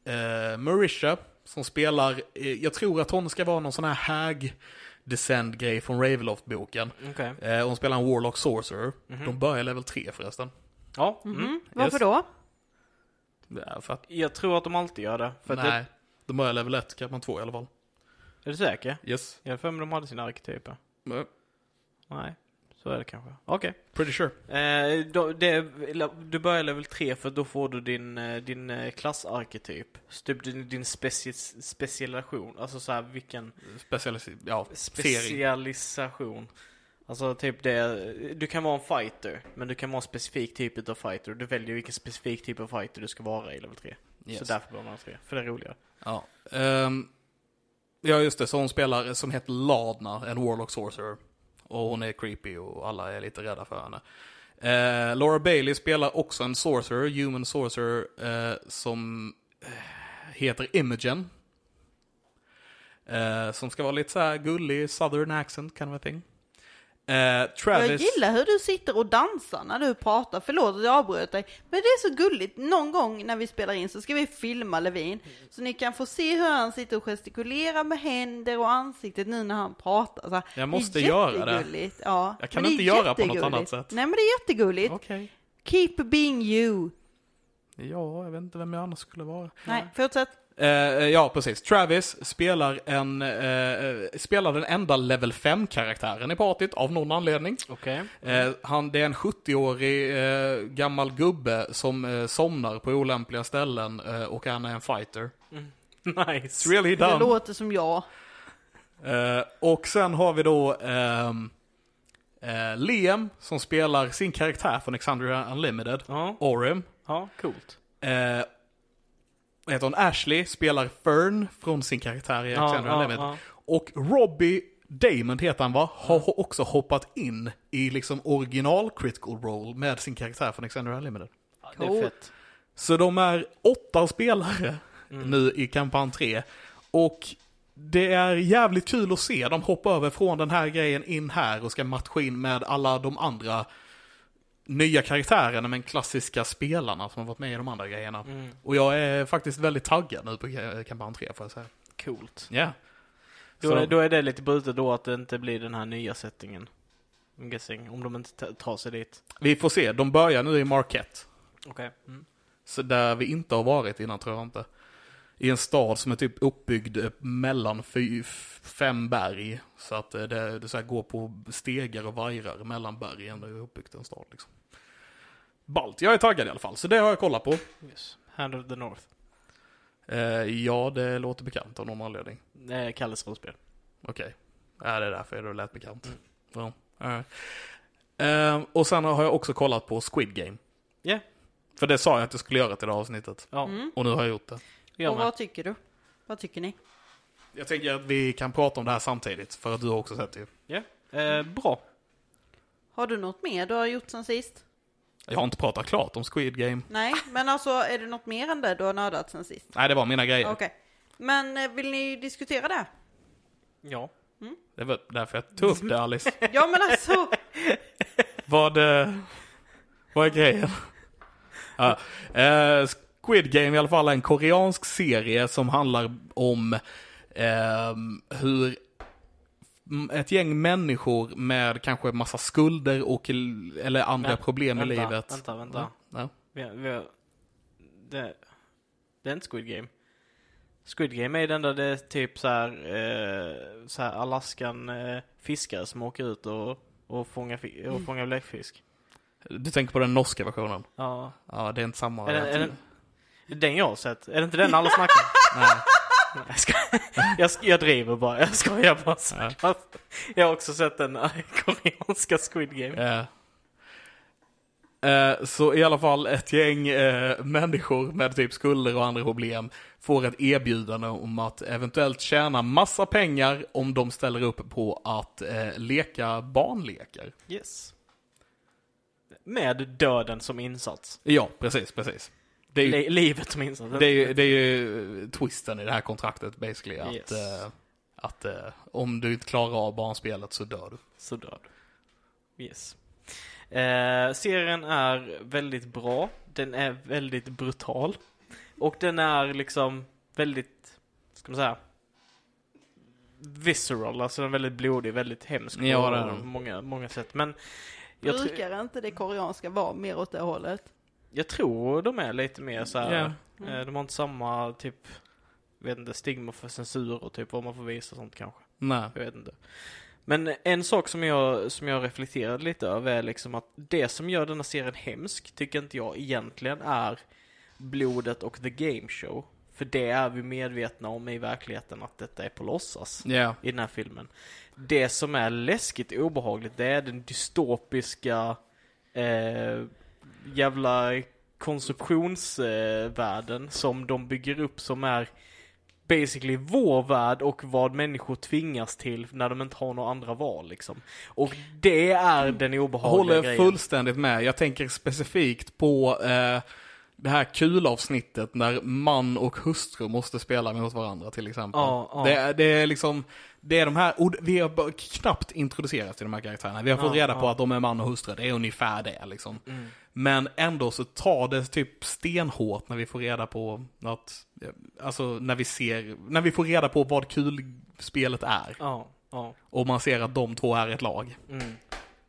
eh, Marisha som spelar, eh, jag tror att hon ska vara någon sån här hag descend grej från Raveloft-boken. Okej. Eh, hon spelar en Warlock Sorcerer. De börjar level 3 förresten. Ja. Mm. Mhm. Varför Yes. då? Ja, för att, Jag tror att de alltid gör det. För att nej, de börjar level 1, kan man 2 i alla fall. Det, är du säker? Yes. Jag har för mig de hade sina arketyper. Nej, så är det kanske. Okej. Eh, Pretty sure. Eh, då- det- du börjar level 3 för då får du din, eh, din eh, klassarketyp. Så Typ din, din speci specialisation. Alltså så här vilken Specialis... Ja, serie. specialisation. Alltså typ det, du kan vara en fighter, men du kan vara en specifik typ av fighter. Du väljer vilken specifik typ av fighter du ska vara i level 3. Så Yes. därför blir man 3, för det är roligare. Ja. Ehm, ja, just det. Så hon spelar som heter Ladna, en Warlock Sorcerer. Och hon är creepy och alla är lite rädda för henne. Eh, Laura Bailey spelar också en Sorcerer, Human Sorcerer, eh, som eh, heter Imogen. Eh, som ska vara lite så här gullig, southern accent kind of a thing. Eh, Travis... Jag gillar hur du sitter och dansar när du pratar. Förlåt att jag avbröt dig. Men det är så gulligt. Någon gång när vi spelar in så ska vi filma Levin. Så ni kan få se hur han sitter och gestikulerar med händer och ansiktet nu när han pratar. Så här, Jag måste det är göra det. jättegulligt. Ja. Jag kan men det inte är göra på något jättegulligt. annat sätt. Nej men det är jättegulligt. Okej. Keep being you. Ja, jag vet inte vem jag annars skulle vara. Nej, fortsätt. Eh, ja, precis. Travis spelar, en, eh, spelar den enda level 5-karaktären i partiet av någon anledning. Okej. Eh, han, det är en 70-årig eh, gammal gubbe som eh, somnar på olämpliga ställen eh, och han är en fighter. Nice. It's really Det done. låter som jag. Eh, och sen har vi då ehm, eh, Liam som spelar sin karaktär från Exandria Unlimited, Ja, Orim. ja, coolt. Eh, vad heter hon? Ashley spelar Fern från sin karaktär i Ja, Alexander ja, Unlimited. ja. Och Robbie Damon heter han va? Har ho- också hoppat in i liksom original critical role med sin karaktär från Alexander Unlimited. Ja, det är Coolt. fett. Så de är åtta spelare nu i kampanj 3. Och det är jävligt kul att se dem hoppa över från den här grejen in här och ska matcha in med alla de andra nya karaktärerna men klassiska spelarna som har varit med i de andra grejerna. Och jag är faktiskt väldigt taggad nu på eh, kampanj 3 får jag säga. Coolt. Ja. Då Så- är, då är det lite brutet då att det inte blir den här nya settingen. I'm guessing. Om de inte ta- tar sig dit. Vi får se, de börjar nu i Marquette. Okej. Mm. Så där vi inte har varit innan tror jag inte. i en stad som är typ uppbyggd eh, mellan fy, f- fem berg. Så att eh, det, det så här går på stegar och vajrar mellan bergen. Det är uppbyggt en stad liksom. Balt, jag är taggad i alla fall, så det har jag kollat på. Yes. Hand of the North. Eh, ja, det låter bekant av någon anledning. Eh, Kalles rollspel. Okej. Ja, det är därför det lät bekant. Ja, alright. Ehm, och sen har jag också kollat på Squid Game. Ja. För det sa jag att jag skulle göra till det här avsnittet. Ja, Och nu har jag gjort det. jag Mm. och med. vad tycker du? Vad tycker ni? Jag tänker att vi kan prata om det här samtidigt, för att du har också sett det. Ja. Eh, bra. Har du något mer du har gjort sen sist? Jag har inte pratat klart om Squid Game. Nej, men alltså är det något mer än det du har nördat sen sist? Nej, det var mina grejer. Okej. Men eh, vill ni diskutera det? Ja. Det var därför jag tog upp det, Alice. Ja men alltså, Vad, eh, vad är grejen? Ja, eh, Squid Game i alla fall är en koreansk serie som handlar om ehm, hur m- ett gäng människor med kanske massa skulder och l- eller andra Vä- problem i vänta, livet. Vänta, vänta. Ja. Vi har, vi har, det, det är inte Squid Game. Squid Game är den där det är typ så här, eh, så här Alaskan eh, fiskare som åker ut och, och fångar, fi- Mm. och fångar bläckfisk. Du tänker på den norska versionen? Ja. Ja, det är inte samma. Är den, är den, är den jag har sett? Är det inte den alla snackar om? Nej. Nej, jag, ska, jag, ska, jag driver bara. Jag skojar bara. såklart. Jag har också sett den eh, koreanska Squid Game. Eh, eh, Så i alla fall ett gäng eh, människor med typ skulder och andra problem får ett erbjudande om att eventuellt tjäna massa pengar om de ställer upp på att eh, leka barnlekar. Yes. Med döden som insats. Ja, precis, precis. Det är ju, Li- livet som insats. det är ju, det är ju eh, twisten i det här kontraktet basically. Att, Yes. eh, att eh, om du inte klarar av barnspelet så dör du. så dör du. Yes. Eh, serien är väldigt bra. Den är väldigt brutal. Och den är liksom väldigt, ska man säga, visceral. Alltså den är väldigt blodig, väldigt hemsk Ja, på det är den. många, många sätt. Men jag, tr- brukar inte det koreanska vara mer åt det hållet? jag tror de är lite mer så här. Ja. Eh, de har inte samma typ, vet inte, stigma för censur och typ vad man får visa och sånt kanske. Nej. Jag vet inte. Men en sak som jag, som jag reflekterade lite över är liksom att det som gör denna serien hemsk tycker inte jag egentligen är blodet och the game show. För det är vi medvetna om i verkligheten att detta är på låtsas Ja. i den här filmen. Det som är läskigt och obehagligt det är den dystopiska eh, jävla konsumtionsvärlden eh, världen som de bygger upp som är basically vår värld och vad människor tvingas till när de inte har några andra val liksom. Och det är den obehagliga håller grejen. fullständigt med. Jag tänker specifikt på eh, det här kulavsnittet när man och hustru måste spela mot varandra till exempel. Ja, ja. Det, är- det är liksom, det är de här, och vi har bara knappt introducerats till de här karaktärerna. Vi har fått Ja, reda på ja. Mm. att de är man och hustru, det är ungefär det liksom. Men ändå så tar det typ stenhårt när vi får reda på att, alltså när vi ser, när vi får reda på vad kulspelet är. Ja, ja. Och man ser att de två är ett lag. Mm.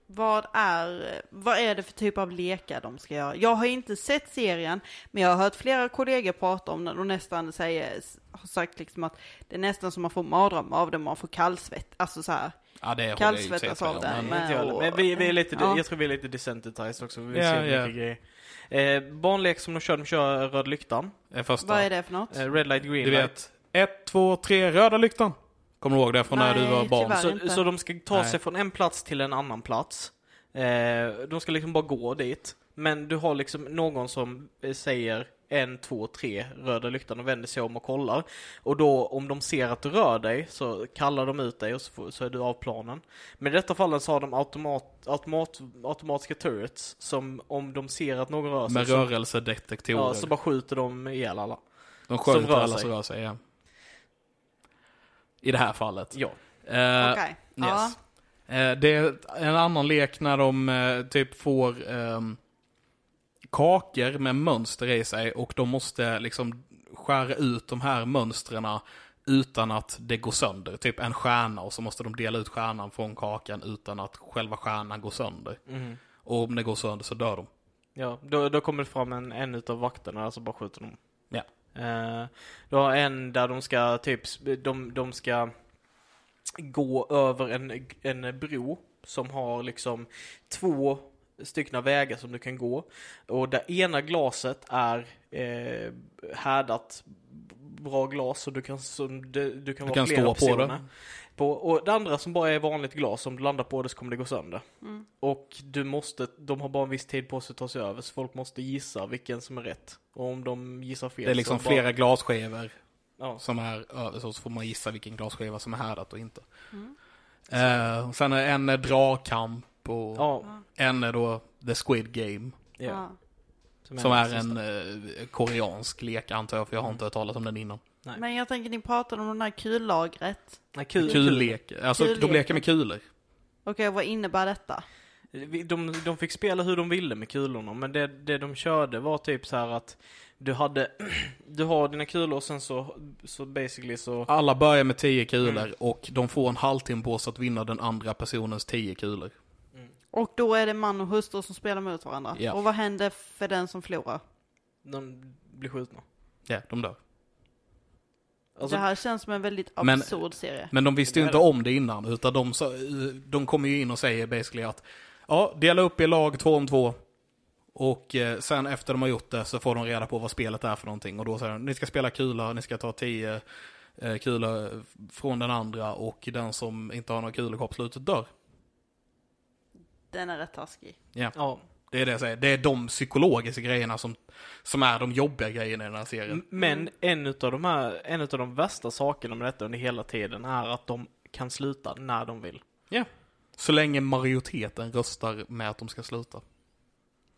Vad är, vad är det för typ av lekar de ska göra? Jag har inte sett serien, men jag har hört flera kollegor prata om den och nästan säger, har sagt liksom att det är nästan som man får mardrömmar av det, man får kallsvett, alltså så här. Ja, det håller jag i och för sig Kallsvettas med av om, men- det, men- Inte jag heller. Men vi, vi är lite, Ja. jag tror vi är lite desensitized också, vi Ja, ser ja. mycket grejer. Eh, barnlek som de kör, de kör röd lyktan. Det första. Vad är det för något? Eh, red light, green Du light. vet, ett, två, tre, röda lyktan. Kommer du ihåg det från när Nej, du var barn? tyvärr. Så, är det Så, inte. så de ska ta Nej. sig från en plats till en annan plats. Eh, de ska liksom bara gå dit. Men du har liksom någon som eh, säger en, två, tre, röda lyktan och vänder sig om och kollar. Och då om de ser att du rör dig så kallar de ut dig och så, får, så är du av planen. Men i detta fallet så har de automat, automat, automatiska turrets som om de ser att någon rör sig med så, rörelsedetektorer. ja, så bara skjuter de ihjäl alla. de som skjuter rör alla sig. som rör sig, ja. Eh, I det här fallet. Ja. Eh, Okej. Ja. yes. Eh, det är en annan lek när de eh, typ får ehm, kakor med mönster i sig och de måste liksom skära ut de här mönstren utan att det går sönder. Typ en stjärna och så måste de dela ut stjärnan från kakan utan att själva stjärnan går sönder. Mm. Och om det går sönder så dör de. Ja, då, då kommer det fram en, en utav vakterna och så bara skjuter de. Ja. Eh, Du har en där de ska typ, de, de ska gå över en, en bro som har liksom två stycken vägar som du kan gå. Och det ena glaset är eh, härdat bra glas så du kan, som, du, du kan Du vara kan flera stå på personer. det. På, och det andra som bara är vanligt glas, om du landar på det så kommer det gå sönder. Mm. Och du måste, de har bara en viss tid på sig att ta sig över så folk måste gissa vilken som är rätt. Och om de gissar fel Det är liksom så bara- flera glasskivor Ja. som är över, så får man gissa vilken glasskiva som är härdat och inte. Eh, och sen är en är dragkamp och Ja. en är då The Squid Game. Ja. Som är den en sista. eh, koreansk lek antar jag, för jag har inte hört talas om den innan. Nej. Men jag tänker ni pratade om den här kullagret. Nej, kul. Kullek, alltså de Kulleken. leker med kulor. Okej, vad innebär detta? Vi- De, de fick spela hur de ville med kulorna, men det, det de körde var typ så här att du hade, du har dina kulor och sen så, så basically så, Alla börjar med 10 kulor Mm. och de får en halvtimme på sig att vinna den andra personens 10 kulor. Och då är det man och hustru som spelar mot varandra. Ja. Och vad händer för den som förlorar? de blir skjutna. Ja, de dör. Alltså, det här känns som en väldigt Men- absurd serie. Men de visste ju inte om det innan, utan de, sa- de kommer ju in och säger basically att ja, dela upp i lag två om två. Och eh, sen efter de har gjort det så får de reda på vad spelet är för någonting. Och då säger de, ni ska spela kula, ni ska ta tio eh, kulor från den andra och den som inte har några kulor kvar på slutet dör. Den är rätt taskig. Ja, ja. det är det jag säger. Det är de psykologiska grejerna som, som är de jobbiga grejerna i den här serien. Men en utav de här, en utav de värsta sakerna med detta under hela tiden är att de kan sluta när de vill. Ja. Så länge majoriteten röstar med att de ska sluta.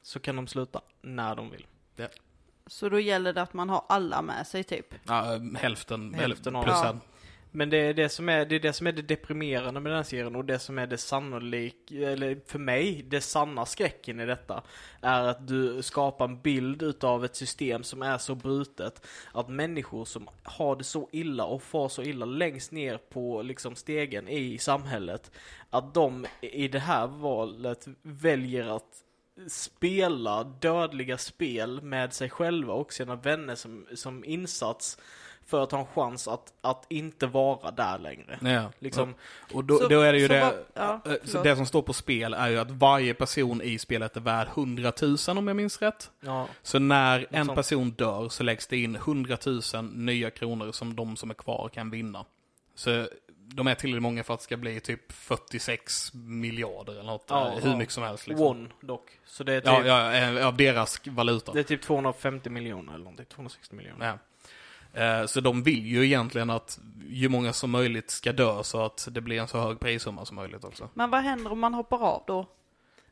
Så kan de sluta när de vill. Ja. Så då gäller det att man har alla med sig typ. Ja, eh, hälften, Hälften av plus det. en. Men det är det, som är, det är det som är det deprimerande med den här serien och det som är det sannolik, eller för mig, det sanna skräcken i detta är att du skapar en bild utav ett system som är så brutet att människor som har det så illa och far så illa längst ner på liksom stegen i samhället att de i det här valet väljer att spela dödliga spel med sig själva och sina vänner som, som insats för att ha en chans att, att inte vara där längre. Ja. Liksom, Och då, Så- då är det ju så det, vad- ja, eh, så förlåt. det som står på spel är ju att varje person i spelet är värd 100 000 om jag minns rätt. ja. Så när en sånt. person dör så läggs det in 100 000 nya kronor som de som är kvar kan vinna. Så de är tillräckligt många för att det ska bli typ 46 miljarder eller något, Ja, eh, hur ja. mycket som helst. Liksom. One dock. Så det är typ, Ja, ja, eh, av deras valuta. Det är typ 250 miljoner eller någonting, 260 miljoner. Ja. Eh, Så de vill ju egentligen att ju många som möjligt ska dö så att det blir en så hög prissumma som möjligt också. Men vad händer om man hoppar av då?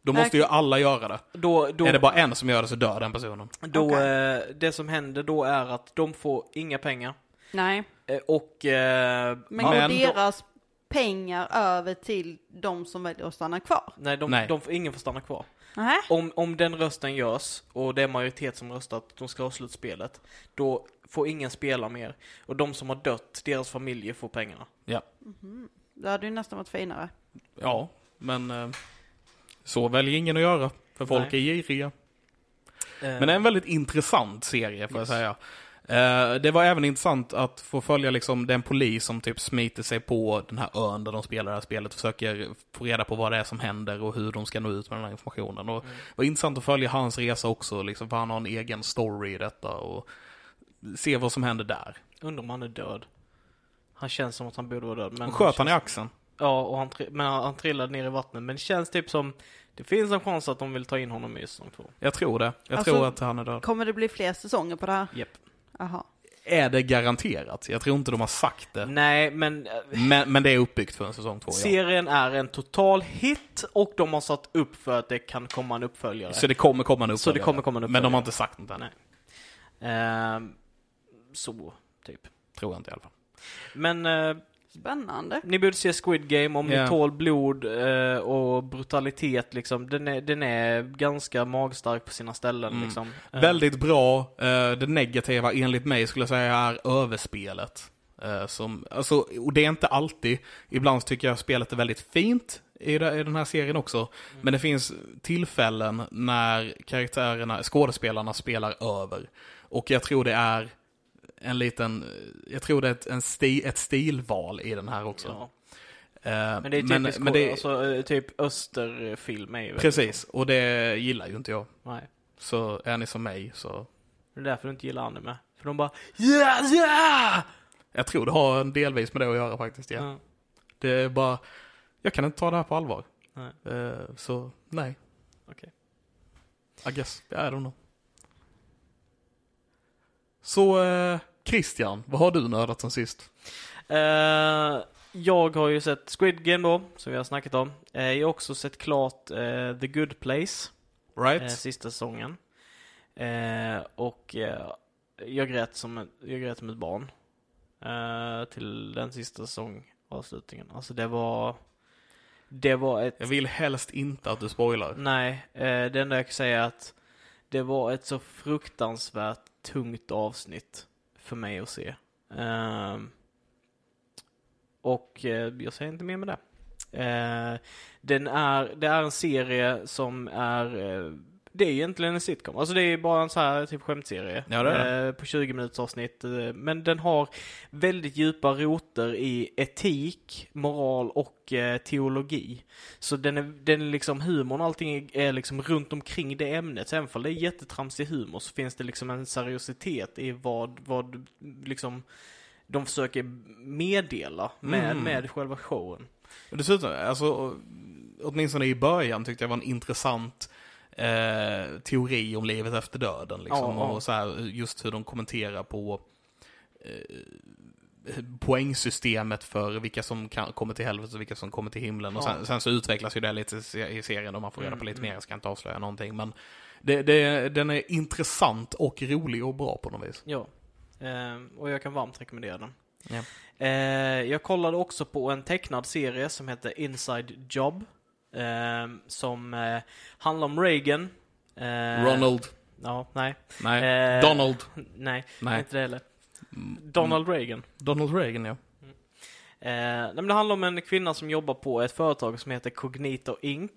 Då Nej. måste ju alla göra det. Då, då, Är det bara en som gör det så dör den personen. då Okej. eh, det som händer då är att de får inga pengar. Nej. eh, Och... Eh, Men Men går då- deras pengar över till de som väljer att stanna kvar? nej, de, Nej. De får, ingen får stanna kvar. Nej. Om, om den rösten görs och det är majoritet som röstar att de ska ha slut spelet, då får ingen spela mer. Och de som har dött, deras familjer får pengarna. Ja. Mhm. Det hade ju nästan varit finare. Ja, men eh, så väljer ingen att göra. För folk är giriga. Men det är en väldigt intressant serie får jag säga. Eh, Det var även intressant att få följa liksom den polis som typ smiter sig på den här ön där de spelar det här spelet. Försöker få reda på vad det är som händer och hur de ska nå ut med den här informationen. Och Det var intressant att följa hans resa också, liksom, för han har en egen story i detta. Och se vad som händer där. Undrar om han är död. Han känns som att han borde vara död. Men Och sköt han i axeln. Ja, och han, tri- men han, han trillade ner i vattnet. Men det känns typ som, det finns en chans att de vill ta in honom i säsong två. Jag tror det. Jag Alltså- tror att han är död. Kommer det bli fler säsonger på det här? Japp. Jaha. Är det garanterat? Jag tror inte de har sagt det. Nej, men eh, Men, men det är uppbyggt för en säsong två, ja. serien är en total hit och de har satt upp för att det kan komma en uppföljare. Så det kommer komma en uppföljare. Så det kommer komma en Men de har uppföljare. inte sagt något än. Nej. Ehm, så, typ. Tror jag inte i alla fall. Men eh, Spännande. ni borde se Squid Game om Ja. ni tål blod eh, och brutalitet liksom. Den är, den är ganska magstark på sina ställen liksom. Eh, Mm. Väldigt bra. Eh, Det negativa enligt mig skulle jag säga är överspelet. Eh, Som, alltså, och det är inte alltid. Ibland tycker jag spelet är väldigt fint i de- i den här serien också. Mm. Men det finns tillfällen när karaktärerna, skådespelarna spelar över. Och jag tror det är en liten, jag tror det är ett, en sti, ett stilval i den här också. Ja. Eh, Men det är men- typiskt men det är- alltså, eh, typ österfilm är ju väldigt- Precis, och det gillar ju inte jag. Nej. Så är ni som mig så... Det är därför du inte gillar anime. För de bara yeah, yeah! Jag tror det har en delvis med det att göra faktiskt. Ja. Ja. Det är bara, jag kan inte ta det här på allvar. Nej. Eh, så nej, Okej. I guess, I don't know. Så eh, Christian, vad har du nördat sen sist? Eh, jag har ju sett Squid Game då, som vi har snackat om. Eh, jag har också sett klart eh, The Good Place, eh, Right? sista säsongen. Eh, och eh, jag, grät som ett, jag grät som ett barn. Eh, till den sista säsongavslutningen. Alltså det var... Det var ett... Jag vill helst inte att du spoilar. Nej, eh, det enda jag kan säga är att det var ett så fruktansvärt tungt avsnitt för mig att se. Ehm, och eh, jag säger inte mer med det. Eh, den är, det är en serie som är, eh, det är egentligen en sitcom. Alltså det är bara en så här typ skämtserie. Ja, det är det. Eh, på 20 minuters avsnitt. Eh, men den har väldigt djupa roter i etik, moral och eh, teologi. Så den är, den är liksom humorn och allting är, är liksom runt omkring det ämnet. Så även om det är jättetramsig humor så finns det liksom en seriositet i vad, vad liksom de försöker meddela med, Mm. med själva showen. Och Dessutom, alltså, åtminstone i början tyckte jag var en intressant eh, teori om livet efter döden. Liksom, Ja, ja. Och så här, just hur de kommenterar på eh, poängsystemet för vilka som kan, kommer till helvetet och vilka som kommer till himlen. Och Ja. sen, sen så utvecklas ju det lite i se- i serien och man får reda på Mm, lite mm. mer, jag ska inte avslöja någonting. Men det, det, den är intressant och rolig och bra på något vis. Ja, Ehm, och jag kan varmt rekommendera den. Ja. Eh, jag kollade också på en tecknad serie som heter Inside Job. ehm, som eh, handlar om Reagan. Eh, Ronald. Ja, nej. Nej. Eh, Donald. Nej, Nej. inte det heller. Mm, Donald Reagan. Donald Reagan, ja. Eh, nej, men det handlar om en kvinna som jobbar på ett företag som heter Cognito Inc.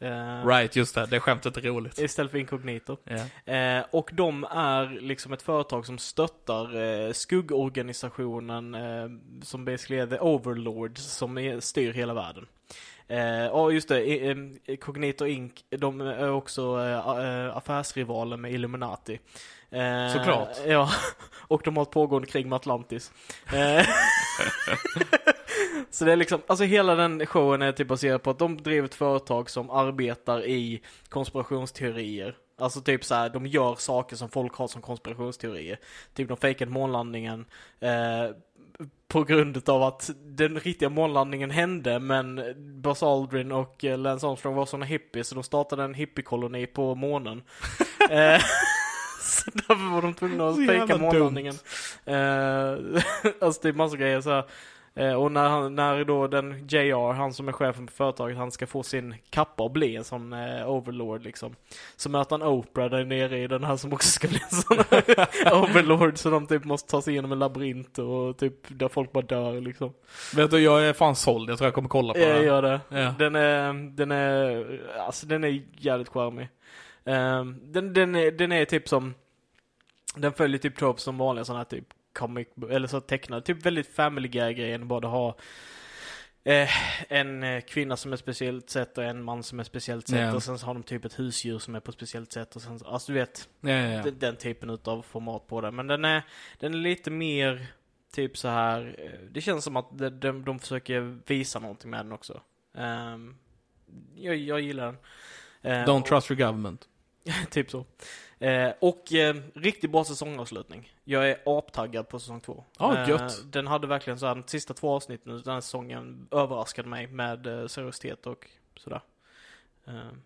Eh, Right, just det. Det skämtet är roligt. Istället för Incognito. Ja. Eh, och de är liksom ett företag som stöttar eh, skuggorganisationen eh, som basically är the overlords som är, styr hela världen. Eh, och just det, eh, eh, Cognito Inc. De är också eh, a- eh, affärsrivaler med Illuminati. Eh, Såklart. Ja, och de har ett pågående krig med Atlantis. Eh, Så det är liksom, alltså hela den showen är typ baserad på att de driver ett företag som arbetar i konspirationsteorier. Alltså typ så här, de gör saker som folk har som konspirationsteorier. Typ de fejkade månlandningen eh, på grund av att den riktiga månlandningen hände men Buzz Aldrin och eh, Lance Armstrong var såna hippies så de startade en hippiekoloni på månen. eh, så därför var de tvungna att Så jävla fejka dumt. månlandningen. Eh, alltså typ massa grejer så här. Eh, och när, han, när då den JR, han som är chefen på företaget, han ska få sin kappa och bli en sån eh, overlord liksom. Så möter han Oprah där nere i den här som också ska bli en sån overlord. Så de typ måste ta sig igenom en labyrint och typ där folk bara dör liksom. Vet du, jag är fan såld. Jag tror jag kommer kolla på Jag det. gör det. Ja. Den är, den är, alltså den är jävligt charmig. Ehm, den, den, är, den är typ som, den följer typ tropes som vanliga sådana här typ comic, eller så tecknade, typ väldigt family guy-grejen, både ha eh, en eh, kvinna som är speciellt sätt och en man som är speciellt sätt Ja. och sen så har de typ ett husdjur som är på ett speciellt sätt och sen så, alltså du vet, Ja, ja, ja. den, den typen utav format på det. Men den är, den är lite mer typ så här. eh, Det känns som att de, de, de försöker visa någonting med den också. Ehm, jag, jag gillar den. Ehm, Don't trust your government. och, typ så. Ehm, och eh, riktigt bra säsongavslutning. Jag är aptaggad på säsong två. Ja, Ehm, gött. den hade verkligen så här, de sista två avsnitten av den här säsongen överraskade mig med eh, seriositet och sådär. Ehm.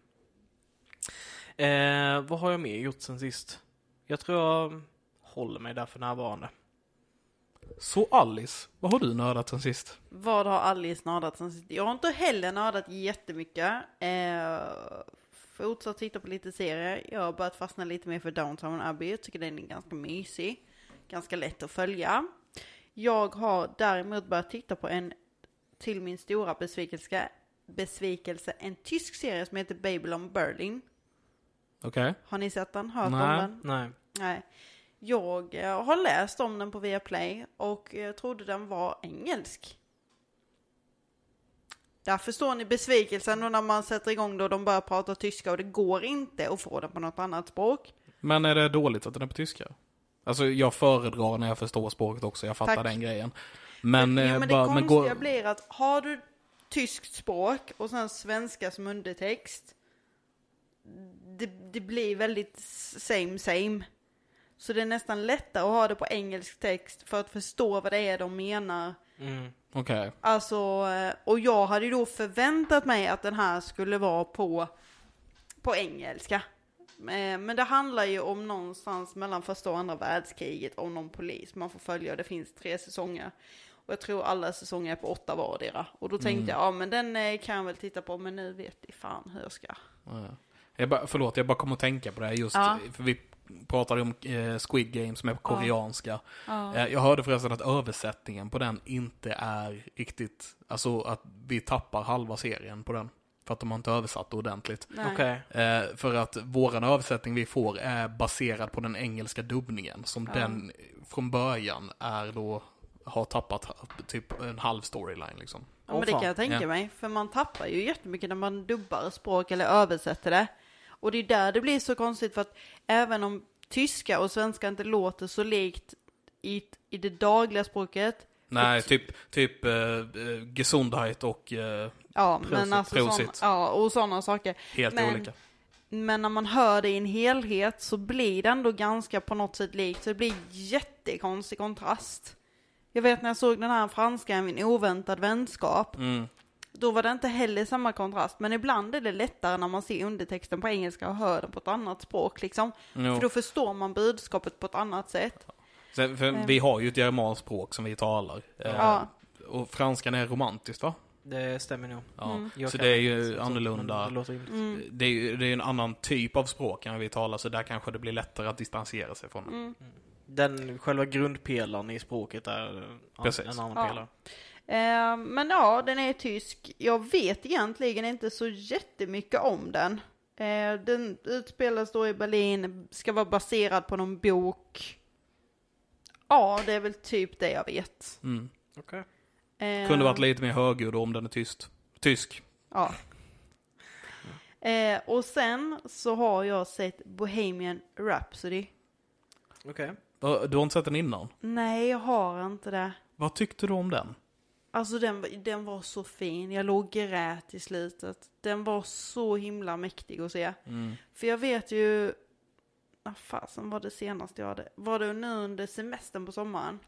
Eh, vad har jag mer gjort sen sist? Jag tror jag håller mig där för närvarande. Så Alice, vad har du nördat sen sist? Vad har Alice nördat sen sist? Jag har inte heller nördat jättemycket. Eh, fortsatt titta på lite serier. Jag har börjat fastna lite mer för Downtown Abbey. Jag tycker den är ganska mysig. Ganska lätt att följa. Jag har däremot börjat titta på en, till min stora besvikelse, besvikelse en tysk serie som heter Babylon Berlin. Okej. Har ni sett den? Hört om Nej. den? Nej. Nej. Jag eh, har läst om den på Viaplay och eh, trodde den var engelsk. Där förstår ni besvikelsen och när man sätter igång då de börjar prata tyska och det går inte att få den på något annat språk. Men är det dåligt att den är på tyska? Alltså jag föredrar när jag förstår språket också, jag fattar Tack. den grejen. Men, jo, eh, men det bara, men konstiga går, blir att har du tyskt språk och sen svenska som undertext. Det, det blir väldigt same same. Så det är nästan lättare att ha det på engelsk text för att förstå vad det är de menar. Mm, okej. Alltså, eh, och jag hade ju då förväntat mig att den här skulle vara på, på engelska. Eh, Men det handlar ju om någonstans mellan första och andra världskriget om någon polis man får följa och det finns tre säsonger. Och jag tror alla säsonger är på åtta vardera. Och då tänkte jag, ja men den eh, kan jag väl titta på men nu vet jag fan hur jag ska. Jag bara, förlåt, jag bara kom att tänka på det här just, Ja. för vi pratade om eh, Squid Game som är på koreanska. Eh, jag hörde förresten att översättningen på den inte är riktigt, alltså att vi tappar halva serien på den. För att de har inte översatt det ordentligt. Nej. Okej. Eh, för att våran översättning vi får är baserad på den engelska dubbningen som den från början är då har tappat ha- typ en halv storyline liksom. Ja, Åh, men det kan fan. jag tänka Ja. mig. För man tappar ju jättemycket när man dubbar språk eller översätter det. Och det är där det blir så konstigt för att även om tyska och svenska inte låter så likt i, i det dagliga språket. Nej, typ, typ eh, eh, Gesundheit och eh, Ja, Prosit, men alltså sån, prosit. ja, och sådana saker. helt men, olika. Men när man hör det i en helhet så blir det ändå ganska på något sätt likt. Så det blir jättekonstig kontrast. Jag vet när jag såg den här franska, Min oväntad vänskap. Mm. Då var det inte heller samma kontrast, men ibland är det lättare när man ser undertexten på engelska och hör den på ett annat språk liksom. Jo. För då förstår man budskapet på ett annat sätt. Sen, för Vi har ju ett germanskt språk som vi talar. Eh, Ehm. Ja. Och franskan är romantiskt va? Det stämmer nog. Ja. Mm. Mm. Jag Så kan det är inte ju säga så, men annorlunda. Det låter rimligt. Det är ju det är en annan typ av språk än vi talar så där kanske det blir lättare att distansera sig från det. Mm. Den själva grundpelaren i språket är en- Precis. en annan Ja. pelare. Eh, men ja, den är tysk. Jag vet egentligen inte så jättemycket om den. Eh, den utspelas då i Berlin, ska vara baserad på någon bok. Ja, det är väl typ det jag vet. Mm. Okej. Eh, Kunde varit lite mer högljudd om den är tyst. Tysk. Ja. Eh, och sen så har jag sett Bohemian Rhapsody. Okej. Ö, Du har inte sett den innan? Nej, jag har inte det. Vad tyckte du om den? Alltså den, den var så fin. Jag låg och grät i slutet. Den var så himla mäktig att se. Mm. För jag vet ju... Vad fasen var det senaste jag hade? Var det nu under semestern på sommaren?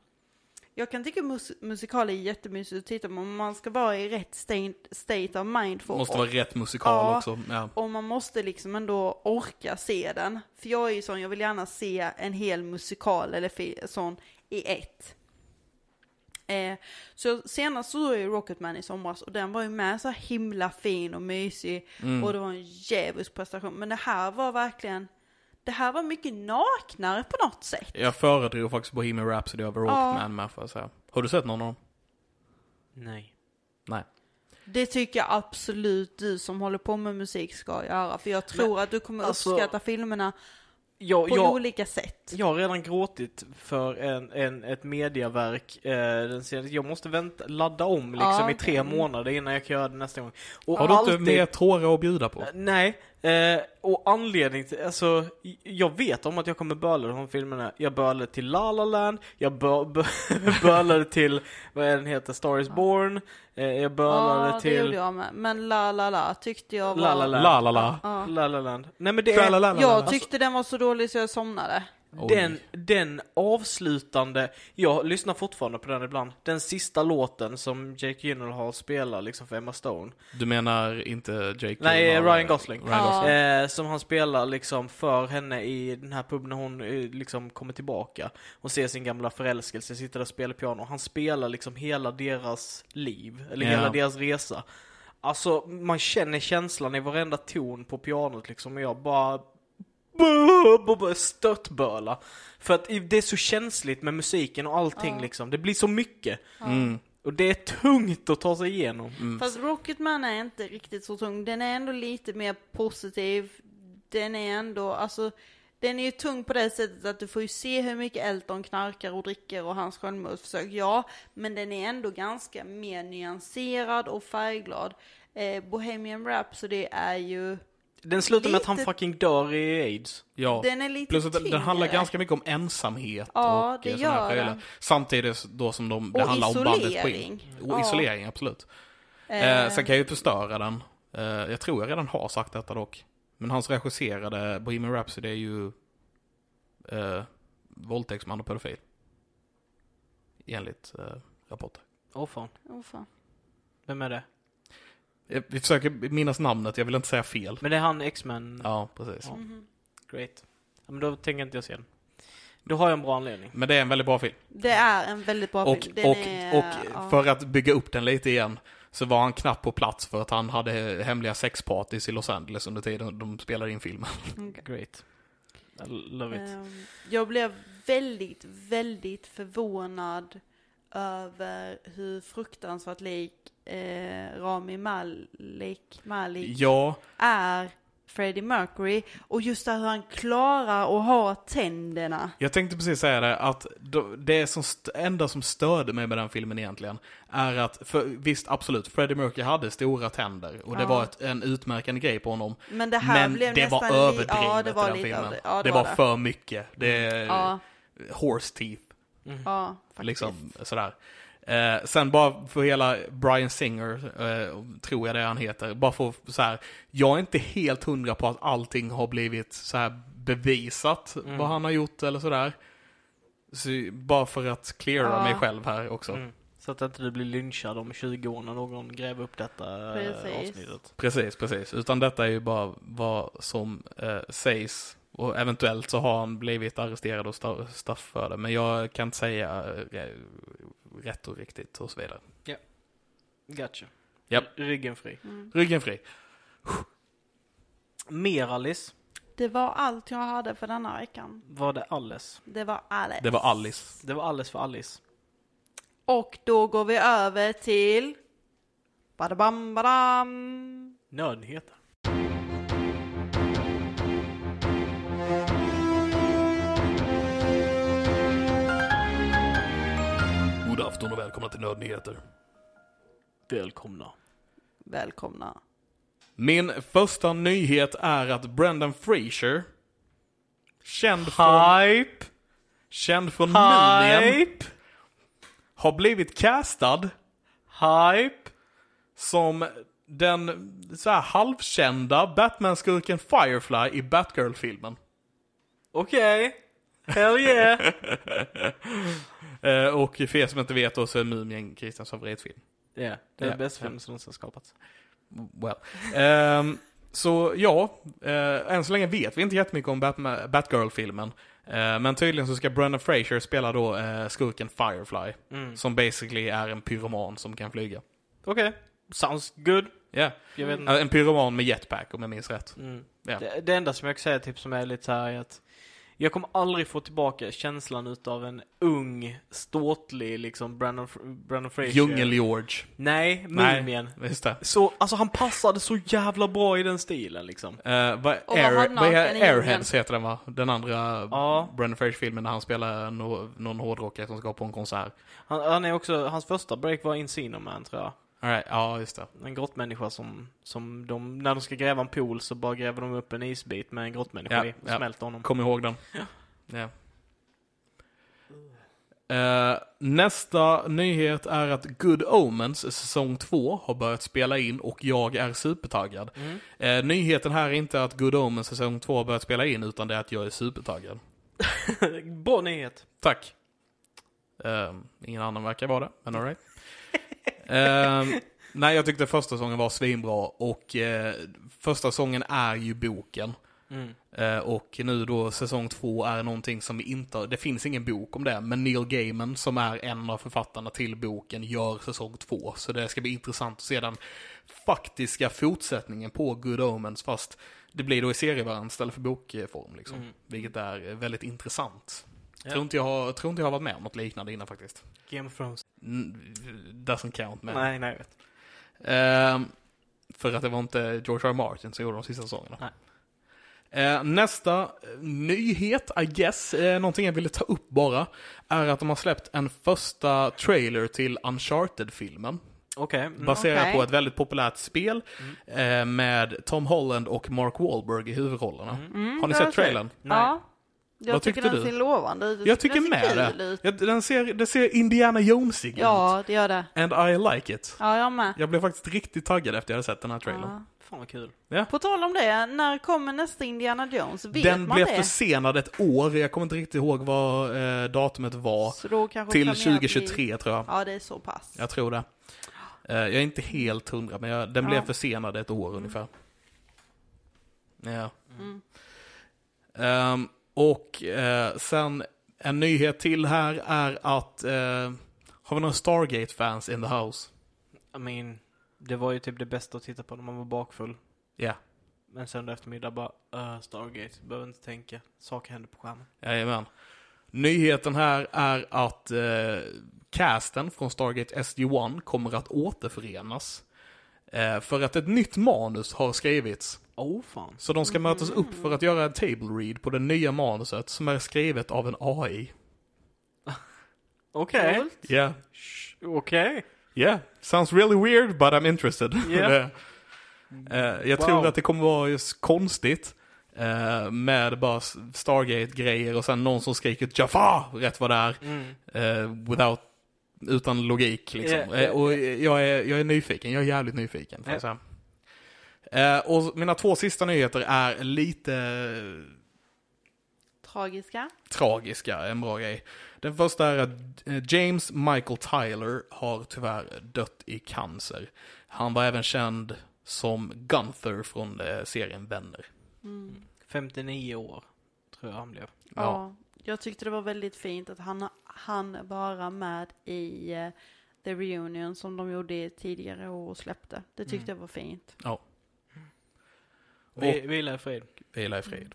Jag kan tycka mus- musikaler är jättemysigt att titta på. Men man ska vara i rätt state, state of mind för Måste att vara rätt musikal Ja. också. Ja. och man måste liksom ändå orka se den. För jag är ju sån, jag vill gärna se en hel musikal eller fi- sån i ett. Eh, så jag- senast så såg jag ju Rocketman i somras och den var ju med så himla fin och mysig. Mm. Och det var en djävulsk prestation. Men det här var verkligen, det här var mycket naknare på något sätt. Jag föredrog faktiskt Bohemian Rhapsody över Rockman med får jag säga. Har du sett någon av dem? Nej. Nej. Det tycker jag absolut du som håller på med musik ska göra. För jag tror att du kommer alltså- uppskatta filmerna Jag, på jag, olika sätt. jag har redan gråtit för en, en, ett mediaverk. Eh, den senaste. Jag måste vänta, ladda om liksom Ja. i tre månader innan jag kan göra det nästa gång. Och Har du inte alltid- mer tårar att bjuda på? Nej, eh, och anledning till, alltså j- jag vet om att jag kommer böla de här filmerna. Jag bölade till La La Land, jag bö, bö, bölade till, vad är den heter, Star Is Born, eh, jag bölade Ja, det gjorde till jag med. Men la la la tyckte jag var... La La Land. La la la. Ja. La La Land. Nej men det Tra la är, la la Alltså- la Jag la. tyckte den var så dålig så jag somnade. Oj. den, den avslutande, jag lyssnar fortfarande på den ibland, den sista låten som Jake Gyllenhaal spelar liksom för Emma Stone. Du menar inte Jake Nej, Gyllenhaal? Ryan Gosling. Ryan Ja. Gosling. Eh, som han spelar liksom för henne i den här puben när hon eh, liksom kommer tillbaka och ser sin gamla förälskelse, sitter där och spelar piano. Han spelar liksom hela deras liv, eller Ja. hela deras resa. Alltså, man känner känslan i varenda ton på pianot liksom och jag bara och börjar störtböla. För att det är så känsligt med musiken och allting liksom. Det blir så mycket. Mm. Och det är tungt att ta sig igenom. Fast Rocketman är inte riktigt så tung. Den är ändå lite mer positiv. Den är ändå, alltså, det- Den är ju tung på det sättet att du får ju se hur mycket Elton knarkar och dricker och hans självmordsförsök, ja. Men den är ändå ganska mer nyanserad och färgglad. Eh, Bohemian Rhapsody är ju, Den slutar med att han Lite- fucking dör i aids. Ja. den är lite Plus att den, den handlar tyngre. ganska mycket om ensamhet Ja, och det eh, såna här gör prylar. den. Samtidigt då som de, det Och handlar om bandet Queen. isolering. Och Ja. isolering, absolut. Eh, Eh, sen kan jag ju förstöra den. Eh, jag tror jag redan har sagt detta dock. Men hans regisserade Bohemian Rhapsody är ju eh, våldtäktsman och pedofil. Enligt eh, rapporter. Åh fan, åh fan. vem är det? Eh, Vi försöker minnas namnet, jag vill inte säga fel. Men det är han X-Men. Ja, precis. Ja. Mhm. Great. Ja, men då tänker inte jag se den. Då har jag en bra anledning. Men det är en väldigt bra film. Det är en väldigt bra Och, film. Den och, är, ja. och för att bygga upp den lite igen så var han knappt på plats för att han hade hemliga sexpartys i Los Angeles under tiden de spelade in filmen. Okej. Great. I love it. Ehm, Jag blev väldigt, väldigt förvånad över hur fruktansvärt lik eh, Rami Malik, Malik Ja, är Freddie Mercury. Och just där hur han klarar att ha tänderna. Jag tänkte precis säga det, att då- det som st- enda som störde mig med den filmen egentligen är att, för, visst absolut, Freddie Mercury hade stora tänder och det Ja. var ett, en utmärkande grej på honom. Men det här Men blev det nästan var li- överdrivet ja, det var i den lite filmen. överdrivet. Ja, det, var för mycket. Det är Ja, horse teeth, ja, faktiskt. liksom sådär. Eh, sen bara för hela Brian Singer, eh, tror jag det han heter, bara för så här. jag är inte helt hundra på att allting har blivit så här bevisat Mm. vad han har gjort eller sådär. Så, bara för att cleara Ja. mig själv här också. Mm. Så att inte du blir lynchad om 20 år när någon gräver upp detta eh, Precis. avsnittet. Precis, precis. Utan detta är ju bara vad som eh, sägs. Och eventuellt så har han blivit arresterad och sta- straff för det. Men jag kan inte säga eh, rätt och riktigt och så vidare. Gotcha. Japp. Ryggen fri. Mm. Ryggen fri. Mer Alice. Det var allt jag hade för denna veckan. Var det Alice? Det var Alex. Det var Alice. Det var Alice för Alice. Och då går vi över till... Badabam, badam. Nödnyheter. God afton och välkomna till Nödnyheter. Välkomna. Välkomna. Min första nyhet är att Brendan Fraser, känd från, Hype! känd från Mumien, Hype! har blivit castad Hype! som den så här halvkända Batman-skurken Firefly i Batgirl-filmen. Okej. Hell yeah! Eh, och för er som inte vet då så är Mumien Kristians favoritfilm. yeah, det är Ja. den bästa filmen som någonsin skapats. Well. Ehm, så ja, eh, än så länge vet vi inte jättemycket om Batma- Batgirl-filmen. Eh, men tydligen så ska Brendan Fraser spela då eh, skurken Firefly. Mm. Som basically är en pyroman som kan flyga. Okej. Sounds good. Ja, eh, Jag vet inte. En pyroman med jetpack om jag minns rätt. Mm. Ja. Det, det enda som jag kan säga typ som är lite så här är att jag kommer aldrig få tillbaka känslan utav en ung, ståtlig liksom Brandon, Fr- Brandon Fraser. Djungel-George. Nej, Nej. Mumien. Just det. Så, alltså han passade så jävla bra i den stilen liksom. Eh, vad, Och vad Air, hamnar vad den är i Airheads heter den va? Den andra Ja. Brendan Fraser-filmen när han spelar no, någon hårdrockare som ska på en konsert. Han, han är också, hans första break var Insino Man tror jag. All right, ja just det. En grottmänniska som, som de, när de ska gräva en pool så bara gräver de upp en isbit med en grottmänniska Ja, i och ja. smälter honom. Kom ihåg den. Ja. Eh, nästa nyhet är att Good Omens säsong 2 har börjat spela in och jag är supertaggad. Mm. Eh, nyheten här är inte att Good Omens säsong 2 har börjat spela in utan det är att jag är supertaggad. bra nyhet! Tack. Ehm, ingen annan verkar vara det, men alright. um, nej, jag tyckte första säsongen var svinbra och eh, första säsongen är ju boken. Mm. Eh, och nu då säsong två är någonting som vi inte har, det finns ingen bok om det, men Neil Gaiman som är en av författarna till boken gör säsong två. Så det ska bli intressant att se den faktiska fortsättningen på Good Omens fast det blir då i serievärlden istället för bokform liksom. Mm. Vilket är eh, väldigt intressant. Ja. Tror, inte jag, har- tror inte jag har varit med om något liknande innan faktiskt. Game of Thrones. Mm, Doesn't count men. Nej, nej jag vet. Ehm, för att det var inte George R. R. Martin som gjorde de sista säsongerna. Nej. Eh, nästa eh, nyhet, I guess, eh, någonting jag ville ta upp bara, är att de har släppt en första trailer till Uncharted-filmen. Okej. Mm. Baserad okej. Mm. på ett väldigt populärt spel eh, med Tom Holland och Mark Wahlberg i huvudrollerna. Mm. har ni det har sett jag sett. trailern? Mm. Nej. Ja. Jag Vad tycker tyckte den du? ser lovande ut. Jag tycker den ser med kul det. ut. Jag, den ser, det ser Indiana Jonesig ut. Ja, det gör det. And I like it. Ja, jag med. Jag blev faktiskt riktigt taggad efter jag hade sett den här trailern. Fan vad kul. På tal om det, när kommer nästa Indiana Jones? Vet Den man blev det? försenad ett år, jag kommer inte riktigt ihåg vad eh, datumet var. Så då kanske Till planerat i- 2023 tror jag. Ja, det är så pass. Jag tror det. Eh, jag är inte helt hundra, men jag, den Ja. blev försenad ett år ungefär. Ja. Mm. Ehm, och eh, sen en nyhet till här är att eh, har vi några Stargate-fans in the house? I mean, det var ju typ det bästa att titta på när man var bakfull. Ja, Men söndag eftermiddag bara, uh, Stargate, behöver inte tänka. Saker händer på skärmen. jajamän. Nyheten här är att eh, casten från Stargate SG-1 kommer att återförenas. Eh, för att ett nytt manus har skrivits. Åh oh, fan. Så de ska mötas upp för att göra en table read på det nya manuset som är skrivet av en AI. Okej. Coolt. Yeah. Sh- Okej. Yeah. Sounds really weird but I'm interested. Yeah. Eh, jag Wow. tror att det kommer vara just konstigt. eh, med bara s- Stargate-grejer och sen någon som skriker Jaffa rätt vad det är. Mm. eh, without, utan logik liksom. Yeah, yeah, Eh, och jag är, jag är nyfiken, jag är jävligt nyfiken. Får jag säga. Eh, och mina två sista nyheter är lite Tragiska. tragiska, en bra grej. Den första är att eh, James Michael Tyler har tyvärr dött i cancer. Han var även känd som Gunther från eh, serien Vänner. Mm. 59 år, tror jag han blev. Ja. Jag tyckte det var väldigt fint att han han vara med i eh, The Reunion som de gjorde tidigare år och släppte. Det tyckte jag var fint. Vi, vila i fred. Vila i fred.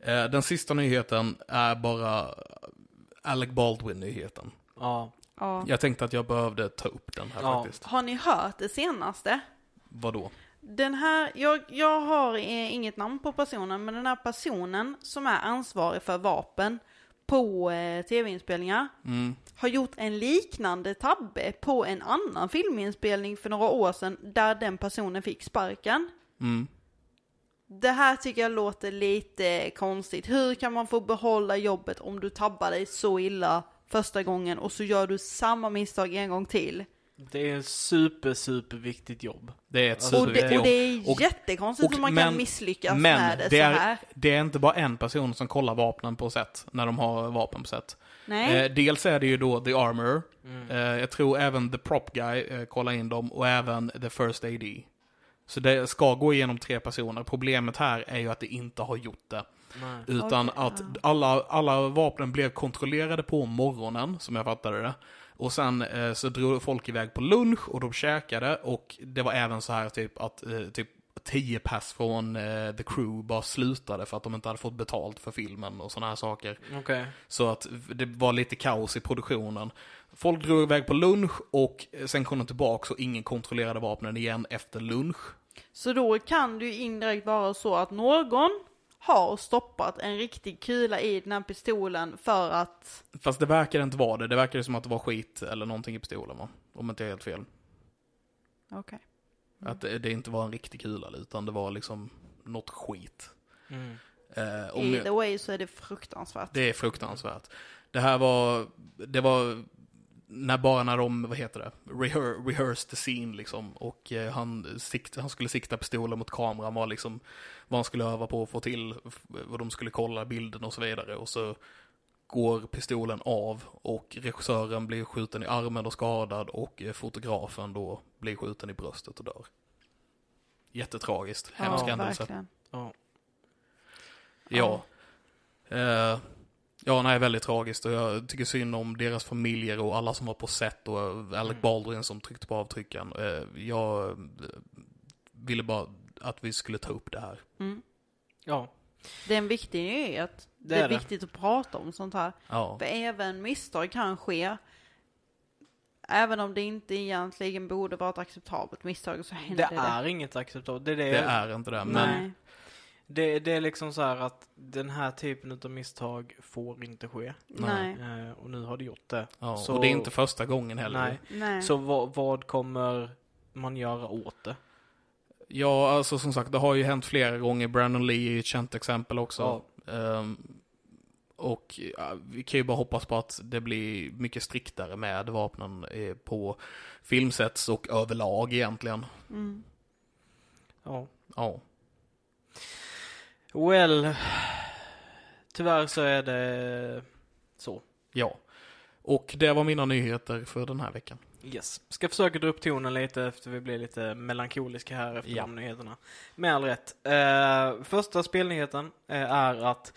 Eh, Den sista nyheten är bara Alec Baldwin-nyheten. Ja. Ja. Jag tänkte att jag behövde ta upp den här Ja. faktiskt. Har ni hört det senaste? Vadå? Den här, jag, jag har eh, inget namn på personen, men den här personen som är ansvarig för vapen på eh, tv-inspelningar Mm. har gjort en liknande tabbe på en annan filminspelning för några år sedan där den personen fick sparken. Mm. Det här tycker jag låter lite konstigt. Hur kan man få behålla jobbet om du tabbar dig så illa första gången och så gör du samma misstag en gång till? Det är ett super, super viktigt jobb. Det är ett Alltså, Och det, och det superviktigt är Och- jättekonstigt och- hur man men- kan misslyckas Men med det, det så här. är, det är inte bara en person som kollar vapnen på sätt, när de har vapen på sätt. Nej. Eh, dels är det ju då The Armorer. Mm. Eh, jag tror även The Prop Guy eh, kollar in dem och även The First AD. Så det ska gå igenom tre personer. Problemet här är ju att det inte har gjort det. Nej. Utan Okej, att alla, alla vapnen blev kontrollerade på morgonen, som jag fattade det. Och sen eh, så drog folk iväg på lunch och de käkade och det var även så här typ att eh, typ 10 pass från eh, the crew bara slutade för att de inte hade fått betalt för filmen och sådana här saker. Okej. Så att det var lite kaos i produktionen. Folk drog iväg på lunch och eh, sen kom de tillbaka och ingen kontrollerade vapnen igen efter lunch. Så då kan det ju indirekt vara så att någon har stoppat en riktig kula i den här pistolen för att... Fast det verkar inte vara det. Det verkar som att det var skit eller någonting i pistolen va? Om inte jag är helt fel. Okej. Att det, det inte var en riktig kula utan det var liksom något skit. Mm. Eh, om Either jag, way så är det fruktansvärt. det är fruktansvärt. Det här var, det var när, bara när de, vad heter det, Rehe- rehearsed the scene liksom. Och eh, han, sikt, han skulle sikta pistolen mot kameran var liksom vad han skulle öva på att få till, f- vad de skulle kolla bilden och så vidare. Och så går pistolen av och regissören blir skjuten i armen och skadad och eh, fotografen då blir skjuten i bröstet och dör. Jättetragiskt, hemsk händelse. verkligen. Ja. Ja. Eh, ja, nej, väldigt tragiskt och jag tycker synd om deras familjer och alla som var på set och Alec Baldwin som tryckte på avtryckan. Eh, jag eh, ville bara att vi skulle ta upp det här. Mm. Ja. Det är en viktig nyhet. Det, är är det. viktigt att prata om sånt här. Ja, För även misstag kan ske. Även om det inte egentligen borde vara ett acceptabelt misstag så händer Det det. är inget acceptabelt. Det är det, det är inte det, men Nej. Det, det är liksom så här att den här typen av misstag får inte ske. Nej. Nej. Eh, och nu har det gjort det. Ja, Så- Och det är inte första gången heller. Nej. Nej. Så vad, vad kommer man göra åt det? Ja, alltså som sagt, det har ju hänt flera gånger. Brandon Lee är ju ett känt exempel också. Ehm, och ja, vi kan ju bara hoppas på att det blir mycket striktare med vapnen eh, på filmsets och överlag egentligen. Mm. Ja. Ja. Well, tyvärr så är det så. ja. Och det var mina nyheter för den här veckan. Yes. Ska försöka dra upp tonen lite efter vi blir lite melankoliska här efter Ja. de nyheterna. Med all rätt. Eh, första spelnyheten eh, är att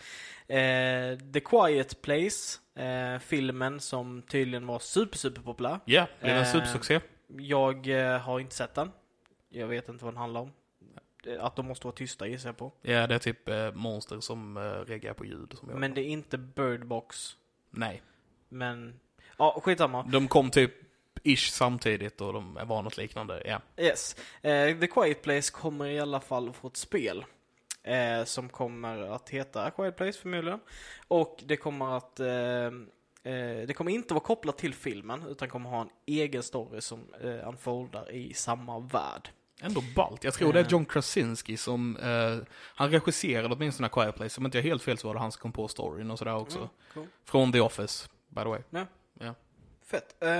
eh, The Quiet Place, eh, filmen som tydligen var super, super populär. Ja, det blev en Eh, supersuccé. Jag eh, har inte sett den. Jag vet inte vad den handlar om. Eh, Att de måste vara tysta gissar jag på. Ja, det är typ eh, monster som eh, reagerar på ljud. Som gör Men det. det är inte Bird Box. Nej. Men, ja skitsamma. De kom typ ish samtidigt och de var något liknande. Ja. Yes. Eh, The Quiet Place kommer i alla fall få ett spel. Eh, som kommer att heta Quiet Place förmodligen. Och det kommer att eh, eh, det kommer inte vara kopplat till filmen utan kommer ha en egen story som eh, unfoldar i samma värld. Ändå ballt. Jag tror det Eh. är John Krasinski som, eh, han regisserade åtminstone Quiet Place, om inte jag är helt fel så var det han som kom på storyn och sådär också. Mm, cool. Från The Office, by the way. Ja. Ja. Fett. Eh,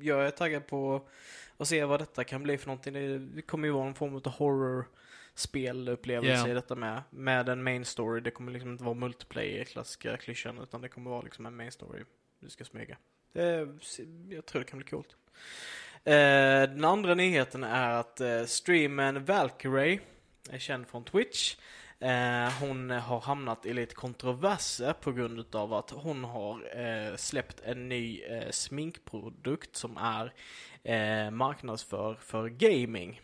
jag är taggad på att se vad detta kan bli för någonting. Det det kommer ju vara någon form av horror-spelupplevelse Yeah. i detta med. Med en main story. Det kommer liksom inte vara multiplayer, klassiska klyschan, utan det kommer vara liksom en main story du ska smyga. Det, jag tror det kan bli coolt. Eh, den andra nyheten är att eh, streamen Valkyrie, är känd från Twitch, Eh, hon har hamnat i lite kontroverser på grund utav att hon har eh, släppt en ny eh, sminkprodukt som är eh, marknadsför för gaming.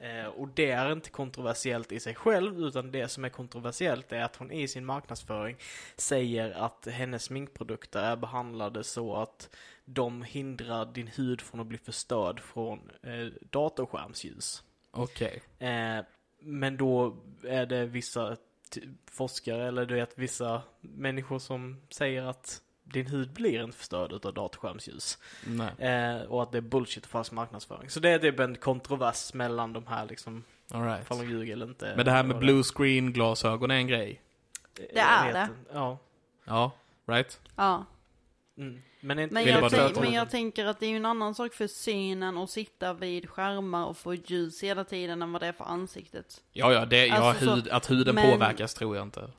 Eh, och det är inte kontroversiellt i sig själv utan det som är kontroversiellt är att hon i sin marknadsföring säger att hennes sminkprodukter är behandlade så att de hindrar din hud från att bli förstörd från eh, datorskärmsljus. Okej. Eh, men då är det vissa t- forskare eller du vet vissa människor som säger att din hud blir inte förstörd utav datorskärmsljus. Nej. Eh, och att det är bullshit och falsk marknadsföring. Så det är typ en kontrovers mellan de här liksom, All right. ifall de ljuger eller inte. Men det här med Och blue screen glasögon är en grej. Det är jag vet det. inte. Ja. Ja, right? Ja. Mm. Men, inte, Men Vill bara jag, döda tänk, dem. men jag tänker att det är ju en annan sak för synen att sitta vid skärmar och få ljus hela tiden än vad det är för ansiktet. Ja, ja, det, Alltså, ja så- hud, att huden men- påverkas tror jag inte.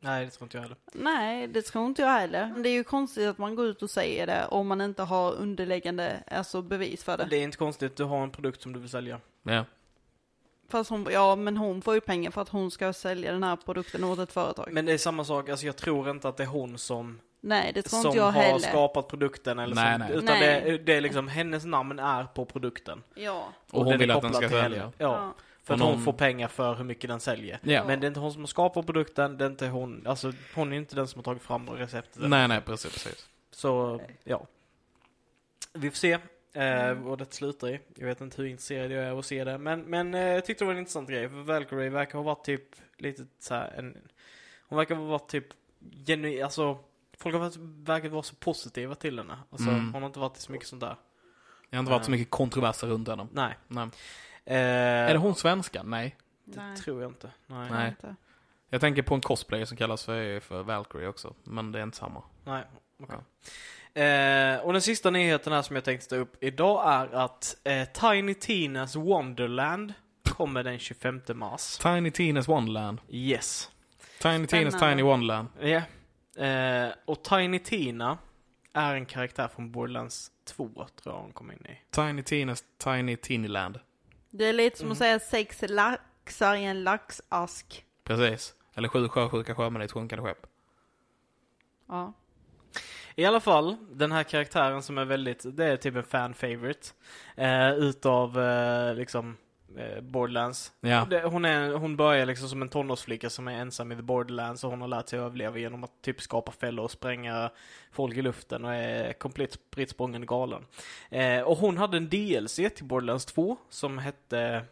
Nej, det tror inte jag heller. Nej, det tror inte jag heller. Men Det är ju konstigt att man går ut och säger det om man inte har underliggande alltså, bevis för det. Det är inte konstigt, du har en produkt som du vill sälja. Ja. Fast hon, ja, men hon får ju pengar för att hon ska sälja den här produkten åt ett företag. Men det är samma sak, alltså jag tror inte att det är hon som Nej, det tror som inte jag har heller. skapat produkten eller Nej, som, nej. utan Nej. Det, det är liksom hennes namn är på produkten. Ja. Och, hon är vill att den kopplad ska till henne. sälja. Ja, Ja. för att Och hon någon- får pengar för hur mycket den säljer. Ja. Men det är inte hon som har skapat produkten, det är inte hon, alltså hon är inte den som har tagit fram receptet. Nej, nej, precis, precis. Så, ja. Vi får se eh, Mm. vad det slutar i. Jag vet inte hur intresserad jag är av att se det. Men, men eh, jag tyckte det var en intressant grej. För Valkyrie verkar ha varit typ lite så här en... Hon verkar ha varit typ genuin, alltså folk har varit, verkar vara så positiva till henne. Alltså Mm. hon har inte varit i så mycket sånt där. Det har inte varit så mycket kontroverser runt henne. Nej. Nej. Eh, Är det hon svenska? Nej. Nej. Tror jag inte. Nej. Nej. inte. Jag tänker på en cosplayer som kallas för, för Valkyrie också, men det är inte samma. Nej, okej. Eh, och den sista nyheten här som jag tänkte ta upp idag är att eh, Tiny Tinas Wonderland kommer den 25 mars. Tiny Tina's Wonderland. Yes. Tiny Tina's Spännande. Tiny Wonderland. Ja. Eh, och Tiny Tina är en karaktär från Borderlands 2, tror jag hon kom in i. Tiny Tina's Tiny Tinyland. Det är lite som att säga sex laxar i en laxask. Precis. Eller sju sjösjuka sjömän i ett sjunkande skepp. Ja. I alla fall, den här karaktären som är väldigt, det är typ en fan favorite. Eh, utav eh, liksom eh, Borderlands. Ja. Det, hon, är, hon börjar liksom som en tonårsflicka som är ensam i the borderlands och hon har lärt sig att överleva genom att typ skapa fällor och spränga folk i luften och är komplett spritt språngande galen. Eh, och hon hade en DLC till Borderlands 2 som hette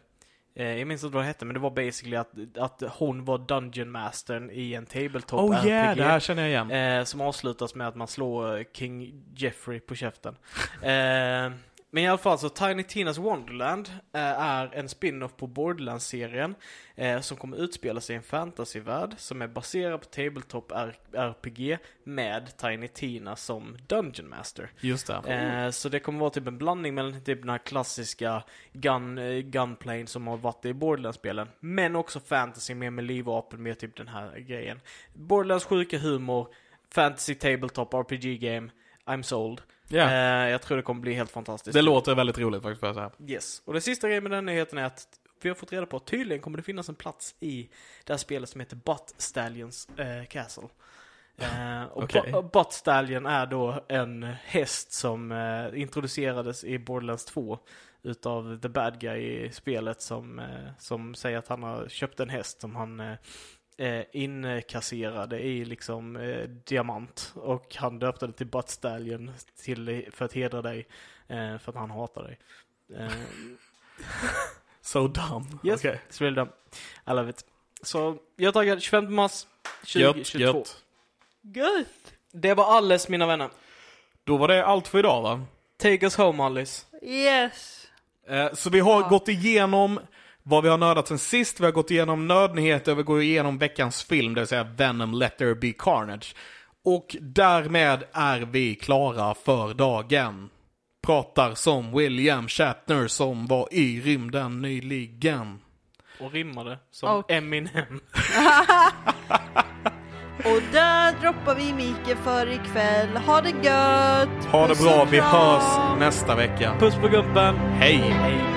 Eh, jag minns inte vad det hette, men det var basically att, att hon var Dungeon Mastern i en tabletop Oh yeah, RPG. det här känner jag igen. Eh, som avslutas med att man slår eh, King Jeffrey på käften. Eh, men i alla fall så Tiny Tinas Wonderland eh, är en spin-off på Borderlands-serien eh, som kommer utspela sig i en fantasyvärld som är baserad på Tabletop R- RPG med Tiny Tina som Dungeon Master. Just det. Eh, så det kommer vara typ en blandning mellan typ den här klassiska gun, eh, gunplane som har varit i Borderlands-spelen. Men också fantasy mer med livvapen, mer typ den här grejen. Borderlands sjuka humor, fantasy tabletop RPG game, I'm sold. Ja. Eh, jag tror det kommer bli helt fantastiskt. Det låter väldigt roligt faktiskt, får jag säga. Yes. Och det sista grejen med den nyheten är att vi har fått reda på att tydligen kommer det finnas en plats i det här spelet som heter Butt Stallions eh, Castle. Eh, och Okej. Bu- Butt Stallion är då en häst som eh, introducerades i Borderlands 2 utav the bad guy i spelet som, eh, som säger att han har köpt en häst som han eh, eh, inkasserade i liksom eh, diamant och han döpte den till Butt Stallion till, för att hedra dig eh, för att han hatar dig. Eh, So dumb. Yes, Okej. it's really dumb. I love it. Så jag är taggad. 25 mars Gött, 2022. gött. Gött! Det var alles mina vänner. Då var det allt för idag va? Take us home Alice. Yes! Eh, Så vi har Ja. gått igenom vad vi har nördat sen sist, vi har gått igenom nödnyheter och vi går igenom veckans film, det vill säga Venom Let There Be Carnage. Och därmed är vi klara för dagen. Pratar som William Shatner som var i rymden nyligen. Och rimmade som Och- Eminem. Och där droppar vi micken för ikväll. Ha det gött! Ha det Puss bra, och vi kram. hörs nästa vecka. Puss på gumpen. Hej! Hej.